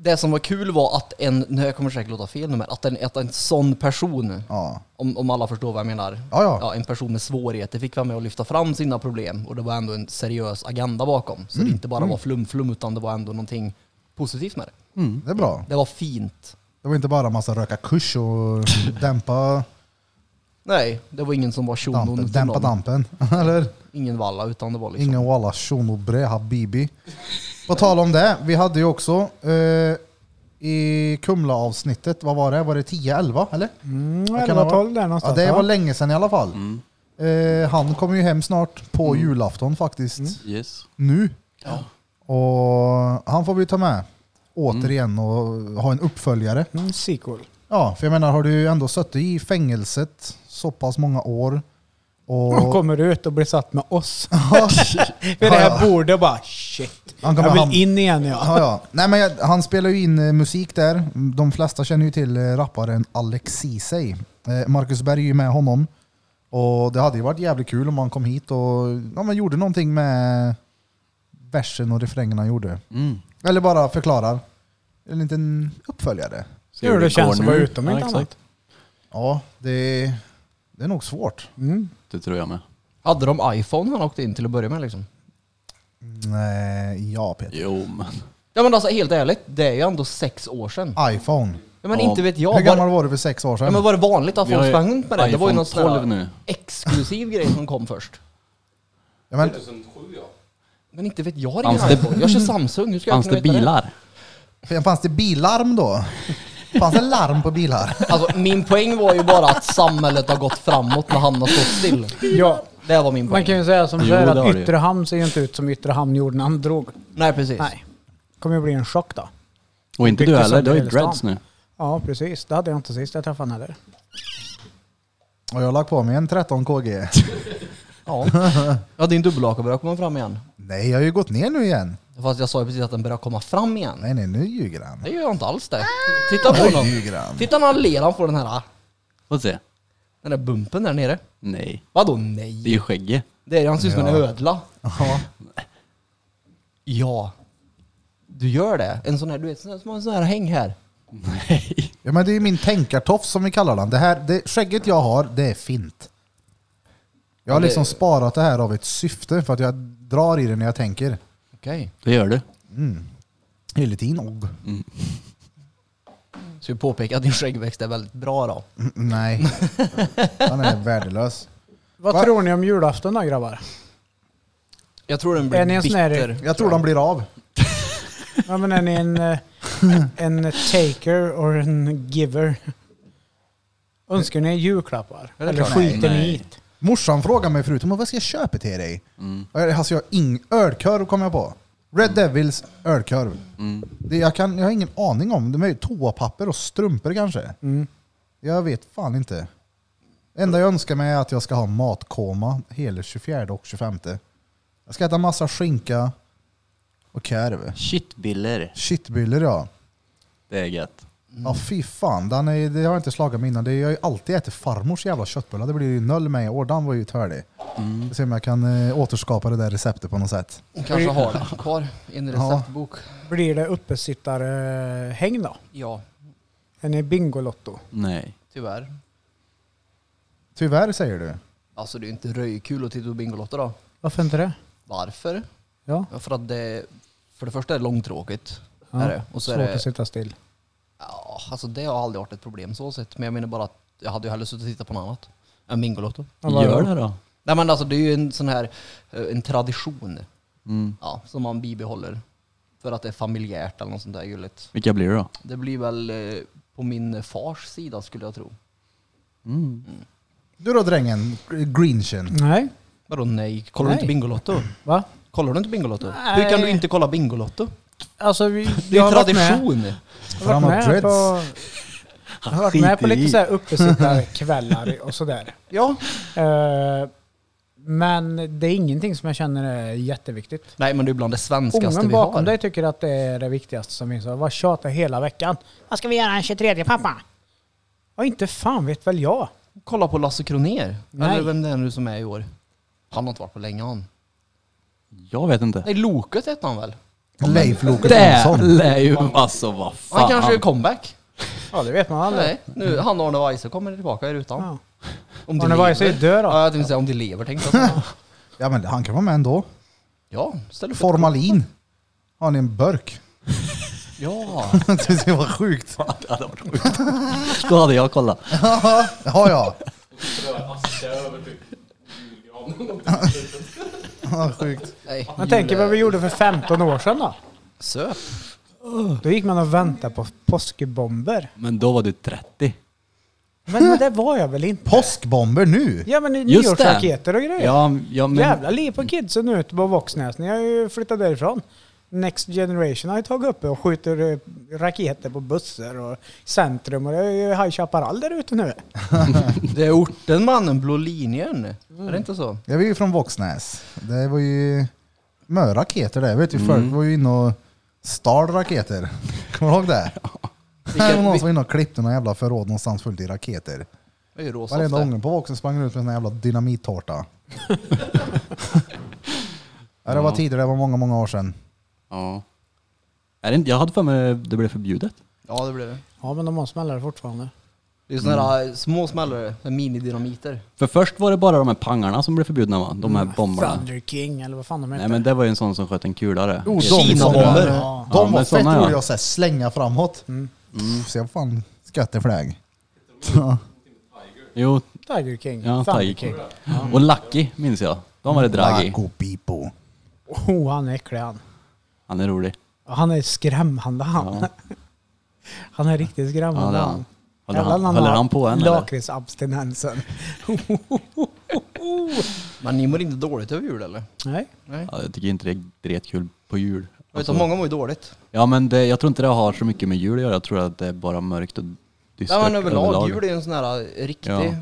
C: Det som var kul var att en, nu jag kommer säkert låta fel nu men, att en, att en sån person,
A: Ja.
C: om, om alla förstår vad jag menar,
A: Ja, ja.
C: en person med svårigheter fick vara med och lyfta fram sina problem och det var ändå en seriös agenda bakom.
A: Mm.
C: Så det inte bara var flum-flum utan det var ändå någonting positivt med det.
D: Mm.
A: Det är bra.
C: Det var fint.
A: Det var inte bara massa röka kurs och dämpa
C: Nej, det var ingen som var shunon
A: Dampen,
C: till
A: dämpa
C: någon.
A: dampen. Eller?
B: Liksom.
C: Ingen valla, utan det var liksom...
A: Ingen walla shuno bre habibi. På tal om det, vi hade ju också eh, i Kumla-avsnittet, vad var det? Var det 10-11 eller?
B: Mm,
A: Vad kan
B: 11,
A: det
B: 12 där Mm.
A: Ja,
B: någonstans.
A: det var
B: va?
A: länge sedan i alla fall. Eh, han kommer ju hem snart på
B: Mm.
A: julafton faktiskt.
D: Yes.
A: Nu. Och han får vi ta med återigen och ha en uppföljare.
B: Mm, sequel.
A: Ja, för jag menar har du ju ändå suttit i fängelset så pass många år. Och
B: Och kommer du ut och blir satt med oss. Vid det
A: Ja,
B: här
A: ja.
B: bordet och bara shit.
A: Han kommer
B: Jag vill
A: ham-
B: in igen
A: Ja,
B: ja.
A: ja. Nej, men jag, han spelar ju in eh, musik där. De flesta känner ju till eh, rapparen Alex Ceesay. Eh, Marcus Berg är ju med honom. Och det hade ju varit jävligt kul om han kom hit och ja, men gjorde någonting med versen och refrängen han gjorde.
D: Mm.
A: Eller bara förklarar. En liten uppföljare.
D: Se
B: Hur det känns
D: går
B: att vara
D: nu.
B: utom
D: Ja,
B: inte
D: exakt.
B: annat.
A: Ja, det, det är nog svårt.
B: Mm.
D: Det tror jag med.
C: Hade de iPhone han åkte in till att börja med liksom?
A: Nej, ja Peter.
D: Jo men.
C: Ja men alltså helt ärligt, det är ju ändå sex år sedan.
A: iPhone.
C: Ja, men
D: Ja.
C: inte vet jag.
A: Hur
C: var,
A: gammal var du för sex år
C: ja, men
A: sedan?
C: var det vanligt att
D: Vi har
C: folk
D: ju
C: sprang runt med det? Det var ju
D: iPhone
C: någon sån
D: 12
C: här
D: nu.
C: exklusiv grej som kom först.
A: Ja, men,
C: Men inte vet jag, jag har ingen
D: Fanns det-
C: iPhone. Jag kör Samsung, hur ska jag
D: Fanns
C: kunna
D: det
C: veta det?
D: bilar?
A: fanns det bilarm då? Fanns det larm på bilar?
C: Alltså min poäng var ju bara att samhället har gått framåt när han har stått still.
B: Ja,
C: Det var min
B: man
C: poäng.
B: kan ju säga som
D: Jo,
B: så här
D: det har
B: att
D: du ju.
B: Yttre hamn ser ju inte ut som Yttre hamn gjorde när han drog.
C: Nej precis.
B: Nej. kommer ju bli en chock då.
D: Och inte
B: Vilket
D: du heller, du har ju
B: som helst,
D: dreads
B: ja.
D: nu.
B: Ja precis, det hade jag inte sist jag träffade honom heller.
A: Och jag har lagt på mig en 13 kg.
C: Ja. ja din dubbelhaka börjar komma fram igen.
A: Nej, jag har ju gått ner nu igen.
C: Fast jag sa ju precis att den börjar komma fram igen.
A: Nej, nej, nu ljuger han.
C: Det gör jag inte alls det. Titta på
A: Nu
C: honom.
A: ljuger han.
C: Titta när han ler, han får den här,
D: Får se.
C: den där bumpen där nere.
D: Nej.
C: Vadå
D: Det är
C: nej?
D: ju skägget.
C: Det är han ser ut som en
A: Ja.
C: ödla.
A: Ja.
C: Ja. Du gör det? En sån här, du vet, sån här- som har en sån här häng här.
D: Nej.
A: ja, men det är ju min tänkartofs som vi kallar den. Det här det, skägget jag har, det är fint. Jag har
C: Ja, det-
A: liksom sparat det här av ett syfte för att jag drar i det när jag tänker.
C: Okej.
D: Det gör du.
A: Hela tiden. och.
C: Så vi påpekar att din skäggväxt är väldigt bra då.
A: Mm, Nej, han är värdelös.
B: Vad
A: Va?
B: tror ni om julafton då grabbar?
C: Jag tror den blir
B: Är ni en sån här-
C: bitter.
A: Jag tror de blir av.
B: Ja, men är ni en, eh, en taker och en giver? Önskar ni julklappar?
C: Ja, det är
B: Eller
C: klart.
B: skiter ni
D: Nej.
B: i det?
A: Morsan frågade mig förut, "Men vad ska jag köpa till dig?
D: Mm,
A: Alltså jag har ing ölkorv kom jag på. Red Devils ölkorv.
D: mm.
A: Det, jag, kan, jag har ingen aning om. Det är ju toapapper och strumpor kanske. Jag vet fan inte. enda jag önskar mig är att jag ska ha matkoma hela 24 och 25. Jag ska äta massa skinka och korv.
D: Shitbiller.
A: Shitbyller ja.
D: Det är gött.
A: Ja fy fan, den är, det har jag inte slagit mig innan. Det, jag har ju alltid ätit farmors jävla köttbullar. Det blir ju noll med i år. Den var ju törlig. Mm. Se om jag kan eh, återskapa det där receptet på något sätt.
C: Kanske har den kvar i en
A: Ja.
C: receptbok.
B: Blir det uppesittarhäng då?
C: Ja,
B: Är ni Bingolotto?
D: Nej.
C: tyvärr.
A: Tyvärr säger du.
C: Alltså det är ju inte röjkul att titta på Bingolotto då.
B: Varför inte det?
C: Varför?
B: Ja,
C: Ja, för att det, för det första är det långtråkigt.
B: Ja,
C: Är det. Och så är
B: svårt att
C: det,
B: sitta still.
C: ja, alltså det har aldrig varit ett problem så sett. Men jag menar bara att jag hade ju hellre suttit och tittat på något annat än Bingolotto.
B: Ja, vad
D: Gör
B: då?
D: det då.
C: Nej men alltså det är ju en sån här, eh, en tradition
D: Mm.
C: ja, som man bibehåller. För att det är familjärt eller något sånt där gulligt.
D: Vilka blir det då?
C: Det blir väl eh, på min fars sida skulle jag tro.
D: Mm.
A: Du då drängen, Grinchen.
B: Nej,
C: Vadå nej? Kollar
B: Nej.
C: du inte Bingolotto?
B: va?
C: Kollar du inte Bingolotto?
B: Nej.
C: Hur kan du inte kolla Bingolotto?
B: Alltså, vi,
C: Det är
B: jag
C: ju
B: har varit med,
C: tradition!
B: jag har
A: Framåt
B: varit med
A: dreads.
B: på, jag har varit med på
D: Skiter i.
B: lite så här uppesittarkvällar och sådär.
C: Ja.
B: Eh, Men det är ingenting som jag känner är jätteviktigt.
C: Nej men det är bland det svenskaste
B: Ungen
C: vi har.
B: bakom dig tycker att det är det viktigaste som finns. Vad tjatar hela veckan? Vad ska vi göra den 23 pappa? Ja, inte fan vet väl jag.
C: Kolla på Lasse Kronér.
B: Nej.
C: Eller vem det är nu som är i år. Han har inte varit på länge han.
D: Jag vet inte.
C: Nej, Loket hette han väl?
A: Leif Loket
D: Det
A: Olsson.
D: lär ju... Alltså vad fan.
C: Han kanske är comeback. Mm.
B: Ja, det vet man aldrig.
C: Nej, nu, han och Arne Weise kommer tillbaka i rutan.
B: Ja.
C: Om
B: Arne Weise är död då.
C: Ja, jag tänkte säga om de lever tänkte jag säga.
A: Ja men han kan vara med ändå.
C: Ja, ställ upp ett-
A: Formalin. Har ni en burk?
C: Ja.
A: det var sjukt.
D: Ja, det hade varit sjukt. Då hade jag kollat.
A: Ja ja.
E: Rör aska över typ julgranen.
A: Ja, sjukt.
C: Nej.
B: Man tänker vad vi gjorde för 15 år sedan då.
C: Söp.
B: Då gick man och väntade på påskbomber.
D: Men då var du 30.
B: Men det var jag väl inte?
A: Påskbomber nu?
B: Ja men
D: Just det.
B: nyårsraketer och grejer.
D: Ja, ja men...
B: Jävla liv på kidsen ute på Våxnäs. Ni har ju flyttat därifrån. Next Generation har ju tagit upp och skjuter eh, raketer på bussar och centrum och det är ju High Chaparral där ute nu.
C: Det är orten mannen, blå linjen. Är det inte så?
A: Jag var ju från Våxnäs. Det var ju mycket raketer där. Vet du, folk var ju inne och stal raketer. Kommer du ihåg det? Det var någon som var inne och klippte någon jävla förråd någonstans fullt i raketer.
C: Det är ju råsoft
A: Varenda
C: det.
A: unge på Våxnäs sprang ut med en sån här jävla dynamittårta. ja, det var tidigare, det var många, många år sedan.
D: Ja. Är det inte, jag hade för mig det blev förbjudet.
C: Ja, det blir det.
B: Ja men de har smällare fortfarande.
C: Det är sådana här eh, små smällare, såna här minidynamiter.
D: För först var det bara de här pangarna som blev förbjudna va? De här
B: Mm.
D: bomberna.
B: Thunder King eller vad fan de heter.
D: Nej men det var ju en sån som sköt en kulare.
A: Oh,
C: Kinabomber.
A: De,
B: Ja.
D: Ja,
A: de
D: men
A: var fett
D: såna, ja.
A: roliga att så här slänga framåt.
C: Mm.
A: Pff, Se vad fan skatten flög.
D: Jo,
B: Tiger King.
D: ja,
B: Thunder
D: Tiger King. Och Lucky minns jag. De var det drag i.
A: Taco Pipo.
B: Oh, han är äcklig han.
D: Han är rolig.
B: Han är skrämmande han.
D: Ja.
B: Han är riktigt
D: Ja,
B: skrämmande
D: det är
B: han.
D: han. Håller han, håller han på än eller?
B: Lakritsabstinensen.
C: Men ni mår inte dåligt över jul eller?
B: Nej.
C: Nej.
D: Ja, jag tycker inte det är dretkul på jul.
C: Jag vet
D: Alltså,
C: att många mår ju dåligt.
D: ja men det, jag tror inte det har så mycket med jul att göra. Jag tror att det är bara mörkt och dystert
C: Ja men överlag, jul är ju en sån här eh, riktig... Ja.
D: Ja.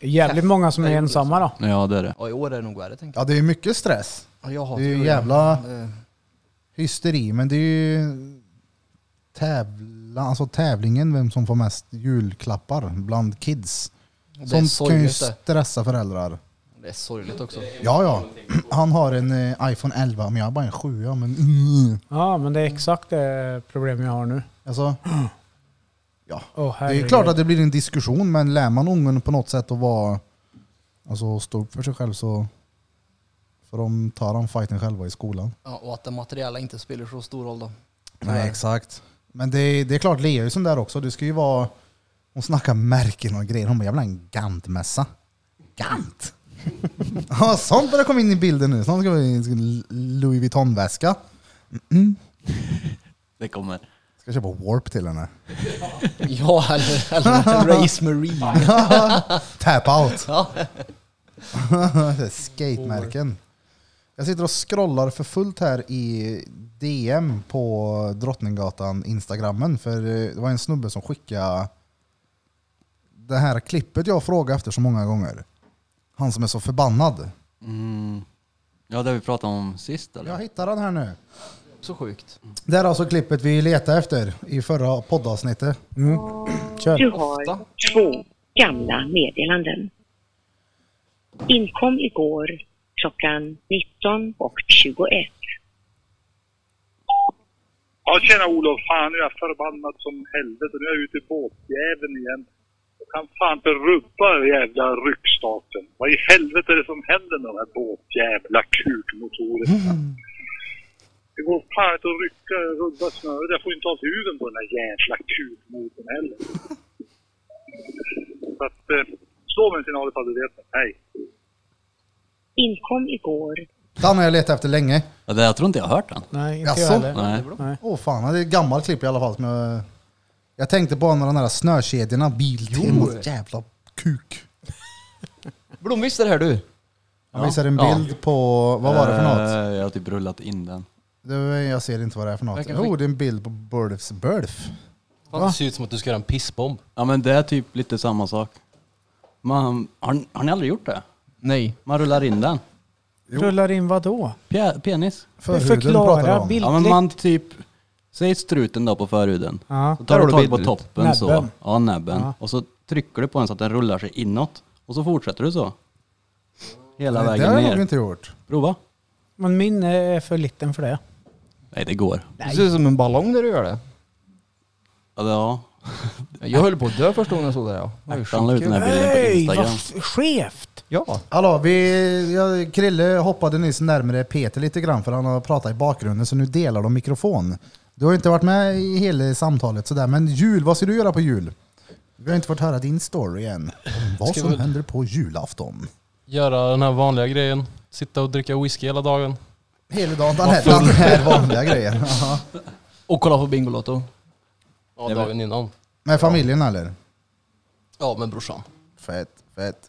B: Jävligt många som är
C: Häftigt.
B: ensamma då.
D: Ja det är det.
C: i år är det nog värre tänker
A: Ja, det är mycket stress.
C: jag. jag. hatar
A: Det är ju
C: jul.
A: jävla
C: Eh,
A: hysteri, men det är ju tävla, alltså tävlingen vem som får mest julklappar bland kids.
C: och Det är
A: Sånt kan ju
C: sorgligt det.
A: stressa föräldrar.
C: Det är sorgligt också.
A: Ja, ja. Han har en eh, iPhone 11, men jag har bara en 7 men mm.
B: Ja, men det är exakt det problem jag har nu.
A: alltså,
B: Åh,
A: Det är
B: herregud.
A: klart att det blir en diskussion, men lär man ungen på något sätt att vara, alltså stå upp för sig själv så får de ta den fighten själva i skolan.
C: Ja, och att det materiella inte spelar så stor roll då.
A: Nej, exakt. Men det, det är klart, Lea är ju sån där också. Det ska ju vara... Hon snackar märken och grejer. Hon bara, jag vill ha en Gant-mässa. Gant? ja, sånt börjar komma in i bilden nu. Sånt ska vi ska en Louis Vuitton-väska. Mm-mm.
D: Det kommer.
A: Ska köpa Warp till henne.
C: Ja, eller, eller Race Marine.
A: Tap out.
C: Ja.
A: Det är Skate-märken. Jag sitter och scrollar för fullt här i DM på Drottninggatan, Instagrammen. För eh, det var en snubbe som skickade det här klippet jag frågade efter så många gånger. Han som är så förbannad.
D: Mm. Ja det vi pratade om sist eller?
A: Jag hittar den här nu.
C: Så sjukt.
A: Det här är alltså klippet vi letade efter i förra poddavsnittet.
B: Kör.
F: Du har
C: Ofta.
F: två gamla meddelanden. Inkom igår klockan 19 och 21.
G: Ja tjena Olof, fan nu är jag förbannad som helvete. Nu är jag ute i båtjäveln igen. Jag kan fan inte rubba den jävla ryckstaten. Vad i helvete är det som händer med de här båtjävla kukmotorerna? Det går fan inte att rycka, rubba snöret. Jag får inte av huven på den här jävla kukmotorn heller. Så att, eh, slå mig en signal ifall du vet något. Hej!
F: Inkom igår
A: Den har jag letat efter länge.
D: Ja, det, jag tror inte jag har hört den.
B: Nej, inte jag
A: Jaså?
B: heller.
D: Nej.
B: Nej.
A: Åh fan, det är ett gammalt klipp i alla fall. Som jag, jag tänkte bara när de här snökedjorna, Biltemas jävla kuk.
C: Blomvist är det här du.
A: Han visar en bild på, vad var det för något?
D: Eh, Jag har typ rullat in den.
A: Det var, jag ser inte vad det är för något.
C: Verkar
A: Jo, det är en bild på Birdfs Birdf.
E: Det ser ut som att du ska göra en pissbomb.
D: Ja men det är typ lite samma sak. Man, har, har ni aldrig gjort det?
C: Nej.
D: Man rullar in den.
B: Rullar in vad då?
D: Pjä, penis.
A: Förhuden pratar du
B: Förklara
A: om.
B: bildligt.
D: Ja men man typ, säg struten då på förhuden.
B: Ja.
D: Så tar
C: Där
D: du
C: har du
D: tag på
C: bilden.
D: toppen så.
B: Näbben.
D: Ja näbben.
B: Ja.
D: Och så trycker du på den så att den rullar sig inåt. Och så fortsätter du så. Hela
A: Nej, det
D: vägen
A: har jag
D: ner.
A: nog inte gjort.
D: Prova.
B: Men min är för liten för det.
D: Nej det går.
C: Du ser ut som en ballong när du gör det.
D: Ja, det- ja.
C: Jag höll på att dö första gången jag såg det. Ja. Det var ju
D: Ertan la ut den
C: skitkul.
D: här bilden på
B: vad
D: Instagram.
B: f- skevt!
C: Ja.
A: Hallå, vi, jag, Krille hoppade nyss närmare Peter lite grann för han har pratat i bakgrunden så nu delar de mikrofon. Du har inte varit med i hela samtalet sådär, men jul, vad ska du göra på jul? Vi har inte fått höra din story än. Om vad
E: Ska
A: som
E: vi-
A: händer på julafton.
E: Göra den här vanliga grejen. Sitta och dricka whisky hela dagen.
A: Hela dagen, den här, den här vanliga grejen. Jaha.
C: Och kolla på Bingolotto.
E: Ja,
D: Det är väl-
E: dagen innan.
A: Med familjen eller?
E: Ja, med brorsan.
A: Fett, fett.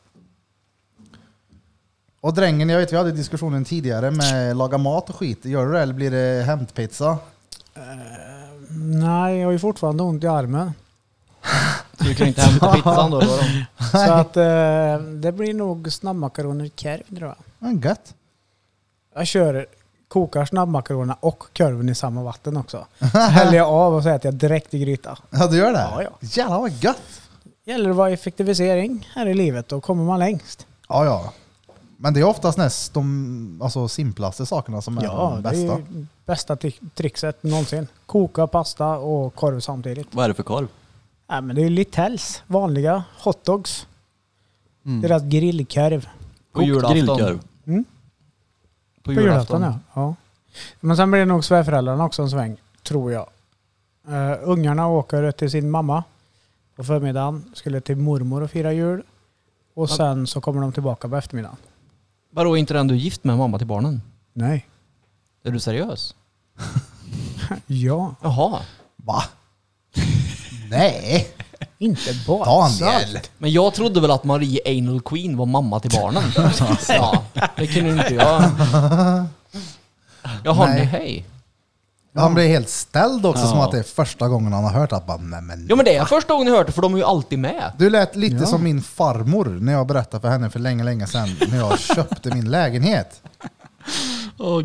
A: Och drängen, jag vet vi hade diskussionen tidigare med laga mat och skit. Gör du det eller blir det hämtpizza?
B: Nej, jag har ju fortfarande ont i armen.
C: Du kan inte hämta pizzan då. då.
B: Så att eh, det blir nog snabbmakaroner och korv tror jag.
A: Men gött.
B: Jag kör, kokar snabbmakaronerna och korven i samma vatten också. Häller jag av och så äter jag direkt i gryta.
A: Ja du gör det?
B: Ja, ja.
A: Jävlar vad gött.
B: Gäller det att vara effektivisering här i livet, då kommer man längst.
A: Ja ja. Men det är oftast näst de alltså, simplaste sakerna som är
B: Ja,
A: de
B: det är
A: bästa.
B: ju bästa tri- trixet någonsin. Koka pasta och korv samtidigt.
D: Vad är det för korv?
B: Nej, men det är ju Littells vanliga hotdogs. Deras grillkorv.
C: På julafton.
D: grillkorv.
C: På
B: På julafton ja. ja. Men sen blir det nog svärföräldrarna också en sväng, tror jag. Eh, ungarna åker till sin mamma på förmiddagen, skulle till mormor och fira jul. Och sen så kommer de tillbaka på eftermiddagen.
C: Vadå, är inte den du är gift med, mamma till barnen?
B: Nej.
C: Är du seriös?
B: Ja.
C: Jaha.
A: Va? Nej,
B: Inte bara.
A: Daniel.
C: Men jag trodde väl att Marie Anal Queen var mamma till barnen. ja, det kunde inte jag. Jaha,
A: Nej.
C: nej. hej.
A: Han blir helt ställd också som att det är första gången han har hört att bara, nej men
C: Ja men det är första gången jag hört det för de är ju alltid med.
A: Du lät lite som min farmor när jag berättade för henne för länge, länge sedan när jag köpte min lägenhet.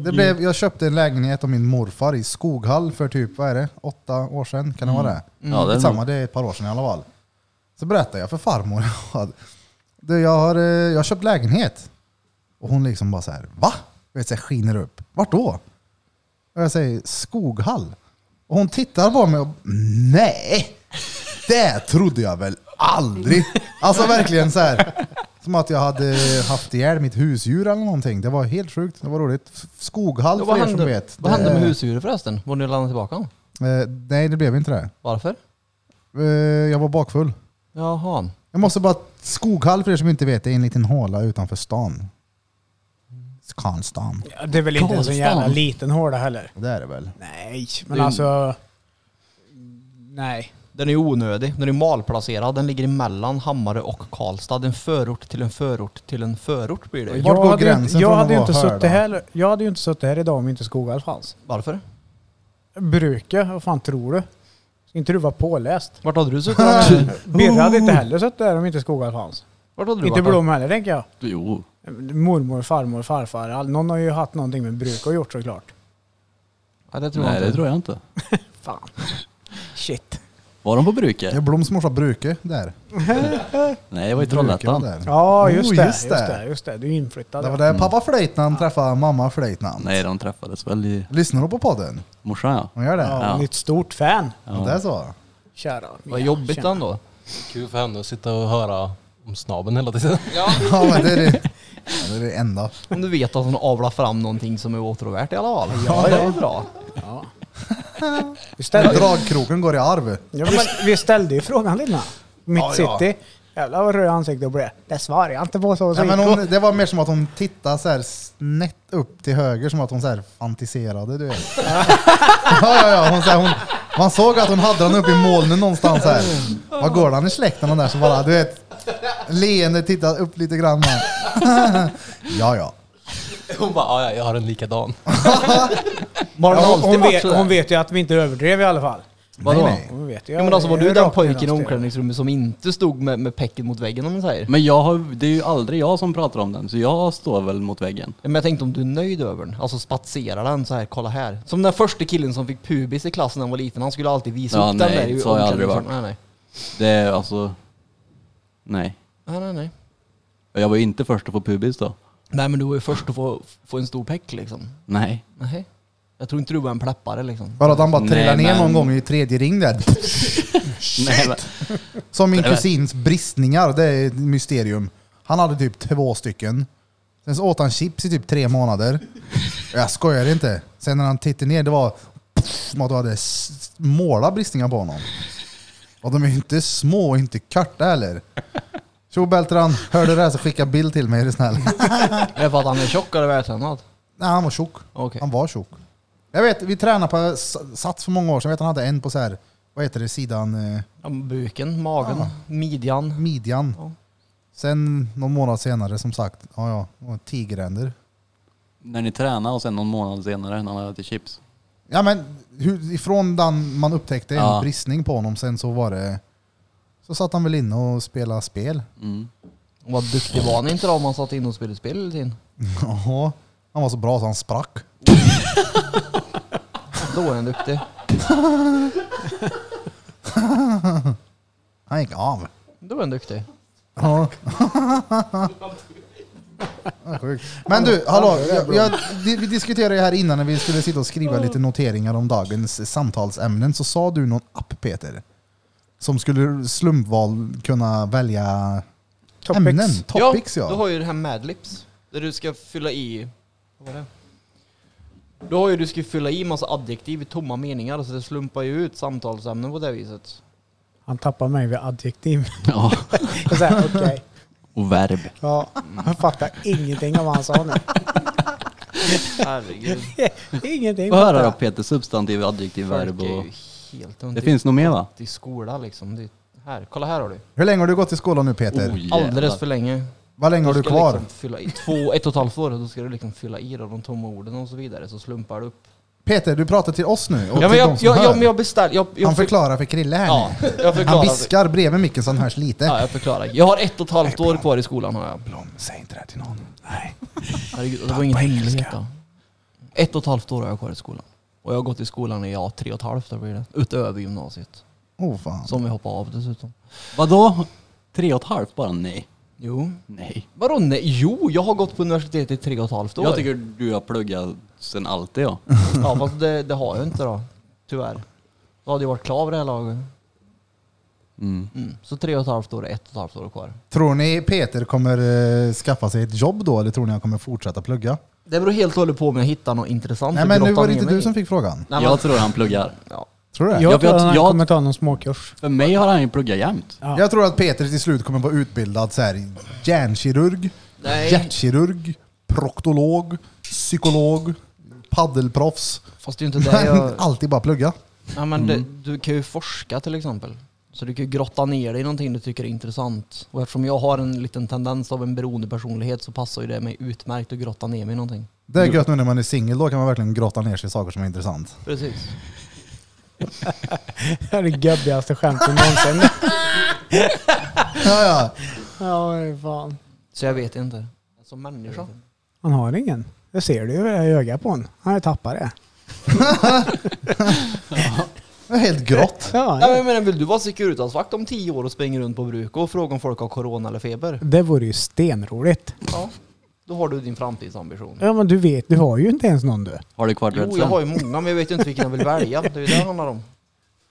A: det blev, jag köpte en lägenhet av min morfar i Skoghall för typ, vad är det, åtta år sedan? Kan det vara det?
D: Mm. Ja, det är
A: Samma, det är ett par år sedan i alla fall. Så berättade jag för farmor. att, "Du, jag har, eh, jag har köpt lägenhet. Och hon liksom bara så här, va? Jag vet, så här, skiner upp. Vart då? Och jag säger Skoghall. Och hon tittar på mig och nej, det trodde jag väl aldrig. Alltså verkligen så här. Som att jag hade haft ihjäl mitt husdjur eller någonting. Det var helt sjukt. Det var roligt. F- Skoghall
C: Ja,
A: för
C: vad
A: er som
C: hände,
A: vet.
C: vad
A: Det-
C: hände med husdjuret förresten? Var ni landade tillbaka honom?
A: Eh, nej, det blev inte det.
C: Varför?
A: Eh, jag var bakfull.
C: Jaha.
A: Jag måste bara, Skoghall för er som inte vet, det är en liten håla utanför stan. Karlstan.
B: Ja, Det är väl inte en så
D: Karlstan.
B: jävla liten håla heller.
A: Det är det väl?
B: Nej, men
C: Det är-
B: alltså... Nej.
C: Den är onödig, den är malplacerad, den ligger emellan Hammare och Karlstad. En förort till en förort till en förort blir det ju.
A: Vart går
B: hade ju inte-
A: gränsen
B: jag
A: från att
B: hade ju
A: vara
B: inte suttit
A: hörd,
B: här, Jag hade ju inte suttit här idag om inte Skoghall fanns.
C: Varför?
B: Bruke, vad fan tror du? Ska inte du vara påläst?
C: Vart hade du suttit? Daniel?
B: Birre hade inte heller suttit där om inte Skoghall fanns.
C: Vart hade du
B: Inte
C: varit då?
B: Blom heller tänker jag.
D: Jo.
B: Mormor, farmor, farfar. all- Någon har ju haft någonting med bruk och gjort såklart.
C: Nej, det tror jag
D: Nej, det
C: inte.
D: tror jag inte.
B: Fan. Shit.
D: Var de på
A: Det är
D: Bruke?
A: Bloms morsa Bruke där.
D: Nej, det var i
A: Bruke
D: Trollhättan.
A: där.
B: Ja, just,
A: Oh,
B: det,
A: just
B: just
A: det.
B: det. Just det, du är inflyttad.
A: Det var
B: ja.
A: där pappa flöjt när han träffade mamma flöjt när han-
D: Nej, de träffades väl i
A: Lyssnar du på podden?
D: morsan ja.
A: Hon gör det?
B: Ja,
D: Ja.
B: hon är ett stort fan.
A: Ja. Det är så?
B: Kära.
C: Vad
B: Ja,
C: jobbigt
B: kära.
C: ändå.
E: Kul för henne att sitta och höra om snaben hela tiden.
A: Ja, men det är det, ja, det, är det enda.
C: Om du vet att hon avlar fram någonting som är åtråvärt i alla fall. Ja, det är bra.
B: Vi ställde,
A: Dragkroken går i arv.
B: ja, vi, vi ställde ju frågan innan. Mitt
A: Ja, ja.
B: city. Jävlar vad röd ansikte hon blev. Det svarar jag inte på så. så
A: Nej, men
B: gick hon.
A: hon, det var mer som att hon tittade så här snett upp till höger, som att hon så här fantiserade. Du vet. Ja, ja, ja. Hon, så här, hon, man såg att hon hade den uppe i molnen någonstans här. Vad går den i släkten den där? Så bara, du vet, leende tittade upp lite grann. bara. Ja, ja.
E: Hon bara, "Ja, ja, jag har en likadan.
C: Har
B: Ja, hon,
C: hon alltid
B: hon, vet,
C: varit sådär?
B: hon vet ju att vi inte överdrev i alla fall.
C: Vadå?
A: Nej, nej.
B: Hon vet ju.
C: Ja, men alltså var
B: det är
C: du den
B: rakt
C: pojken i
B: genom
C: omklädningsrummet som inte stod med, med pecken mot väggen om man säger?
D: Men jag har, det är ju aldrig jag som pratar om den, så jag står väl mot väggen.
C: Men jag tänkte om du är nöjd över den, alltså spatsera den så här, kolla här. Som den första killen som fick pubis i klassen när han var liten, han skulle alltid visa
D: Ja,
C: upp
D: nej,
C: den där i
D: så har jag aldrig
C: omklädningsrummet. Nej,
D: Det är alltså... Nej.
C: nej. Nej, nej, nej.
D: Jag var ju inte först att få pubis då.
C: Nej, men du var ju först att få, få en stor peck liksom.
D: Nej.
C: Nej. Jag tror inte du var en pleppare liksom.
A: Bara att han bara
D: Nej,
A: trillade ner
D: men-
A: någon gång i tredje ring där.
D: Nej, men-
A: Som min kusins bristningar, det är ett mysterium. Han hade typ två stycken. Sen så åt han chips i typ tre månader. Jag skojar inte. Sen när han tittade ner, det var som att du hade s- målat bristningar på honom. Och de är ju inte små och inte korta heller. Tjo Beltran, hör du det här så skicka bild till mig är du snäll.
C: Är det för att han är tjock eller vältränad?
A: Nej, han var tjock.
C: Okej.
A: Han var tjock. Jag vet, vi tränade på S- Sats för många år sedan. Jag vet han hade en på så här, vad heter det, sidan, eh,
C: Ja, buken, magen, midjan.
A: midjan.
C: Ja.
A: Sen någon månad senare som sagt, ja ja, och tigeränder.
D: När ni tränar och sen någon månad senare när han äter chips.
A: Ja men hur, ifrån den man upptäckte en
D: Ja.
A: bristning på honom sen så var det, så satt han väl inne och spelade spel.
D: Mm.
C: Och Vad duktig var han inte då om han satt in och spelade spel hela tiden?
A: Ja, han var så bra så han sprack.
C: Då är han duktig.
A: Han gick av.
C: Då är han duktig.
A: Ja. Ja, sjukt. Men du, hallå. Jag, jag, di- vi diskuterade ju här innan när vi skulle sitta och skriva lite noteringar om dagens samtalsämnen så sa du någon app Peter. Som skulle slumpval kunna välja
B: Topics.
A: ämnen. Topics ja.
C: Du har ju det här Madlips. Där du ska fylla i... Vad var det? Du har ju, du ska fylla i massa adjektiv i tomma meningar så det slumpar ju ut samtalsämnen på det viset.
B: Han tappar mig vid adjektiv.
D: Ja,
B: Jag säger, Okej,
D: och verb.
B: ja, jag fattar ingenting av vad han sa nu.
C: Herregud.
B: Ingenting.
D: Vad
B: fattar
D: höra då
B: jag.
D: Peter? Substantiv, adjektiv, verb
C: Folk är
D: och...
C: ju helt
D: Det
C: under
D: finns nog mer va?
C: i skola liksom. Det är, här, kolla här har du.
A: Hur länge har du gått i skolan nu Peter?
D: Oh, jävlar.
C: Alldeles för länge.
A: Vad länge har du
C: ska
A: kvar?
C: Liksom fylla i, två, ett och ett halvt år, då ska du liksom fylla i då, de tomma orden och så vidare, så slumpar du upp.
A: Peter, du pratar till oss nu och
C: Ja men
A: till
C: jag,
A: de
C: jag,
A: som hör.
C: jag, men jag beställer... Jag, jag
A: Han förklarar för Krille här
C: Ja,
A: nu.
C: jag förklarar.
A: Han viskar bredvid micken så han hörs lite.
C: Ja, jag förklarar. Jag har ett och ett halvt år kvar i skolan har jag.
A: Blom, säg inte det här till någon. Nej.
C: Herregud, det var ingen hemlighet då. Ett och ett halvt år har jag kvar i skolan. Och jag har gått i skolan i ja, tre och ett halvt år blir det. Utöver gymnasiet.
A: Oh fan.
C: Som vi hoppade av dessutom.
D: Vadå? Tre och ett halvt bara? Nej.
C: Jo.
D: Nej.
C: Vadå nej? Jo, jag har gått på universitetet i tre och ett halvt år.
D: Jag tycker du har pluggat sen alltid ja.
C: Ja fast det, det har jag inte då. Tyvärr. Då hade jag varit klar vid det här laget.
D: Mm.
C: Mm. Så tre och ett halvt år, ett och ett halvt år kvar.
A: Tror ni Peter kommer eh, skaffa sig ett jobb då eller tror ni han kommer fortsätta plugga?
C: Det beror helt och hållet på om jag hittar något intressant
A: Nej
C: att
A: men nu
C: grotta
A: var det
C: ner
A: inte
C: mig
A: du
C: i.
A: som fick frågan.
C: Nej, men,
D: Jag tror han pluggar.
C: ja.
A: Tror du det?
B: Jag
D: Jag
B: tror
D: vet-
B: att han
D: jag-
B: kommer ta någon småkurs.
D: För mig har han ju pluggat jämt.
B: Ja.
A: Jag tror att Peter till slut kommer vara utbildad så här, hjärnkirurg,
C: Nej.
A: hjärtkirurg, proktolog, psykolog, paddelproffs.
C: Fast det är ju inte det jag...
A: Alltid bara plugga.
C: Ja, men det, du kan ju forska till exempel. Så du kan ju grotta ner dig i någonting du tycker är intressant. Och eftersom jag har en liten tendens av en beroende personlighet så passar ju det mig utmärkt att grotta ner mig i någonting.
A: Det är gött nu när man är singel, då kan man verkligen grotta ner sig i saker som är intressant.
C: Precis.
B: Det är det gubbigaste skämtet någonsin.
A: Ja, ja.
B: Ja, vad fan.
C: Så jag vet inte. Som människa.
B: Han har ingen. Det ser du ju i ögat på honom. Han har ju tappat det.
A: Det är helt grått.
B: Ja,
C: Nej, men jag menar, vill du vara Securitasvakt om tio år och springa runt på bruk och fråga om folk har corona eller feber?
B: Det vore ju stenroligt.
C: Ja. Då har du din framtidsambition.
B: Ja men du vet, du har ju inte ens någon du.
D: Har du kvar
C: Jo, jag
D: dreadsen?
C: har ju många men jag vet ju inte vilken jag vill välja. Det är ju det det handlar om.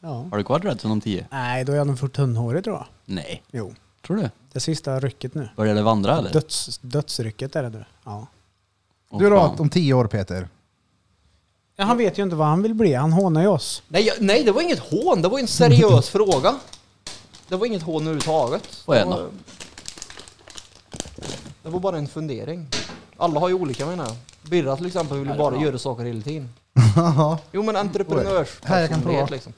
B: Ja.
D: Har du kvar dreadsen om tio?
B: Nej, då är jag nog för tunnhårig tror jag.
D: Nej.
B: Jo.
D: Tror du?
B: Det sista rycket nu.
D: Börjar det vandra eller?
B: Döds, dödsrycket är det nu. Ja.
D: Åh,
A: Du då,
D: fan.
A: om tio år Peter.
B: Ja, han vet ju inte vad han vill bli. Han hånar ju oss.
C: Nej, jag, nej, det var inget hån. Det var ju en seriös fråga. Det var inget hån överhuvudtaget.
D: Vad är
C: Det
D: det då?
C: var- Det var bara en fundering. Alla har ju olika menar jag. Birra till exempel vill ju bara göra saker hela tiden. Jo men entreprenörs
A: Här, jag kan prova.
C: personlighet, liksom.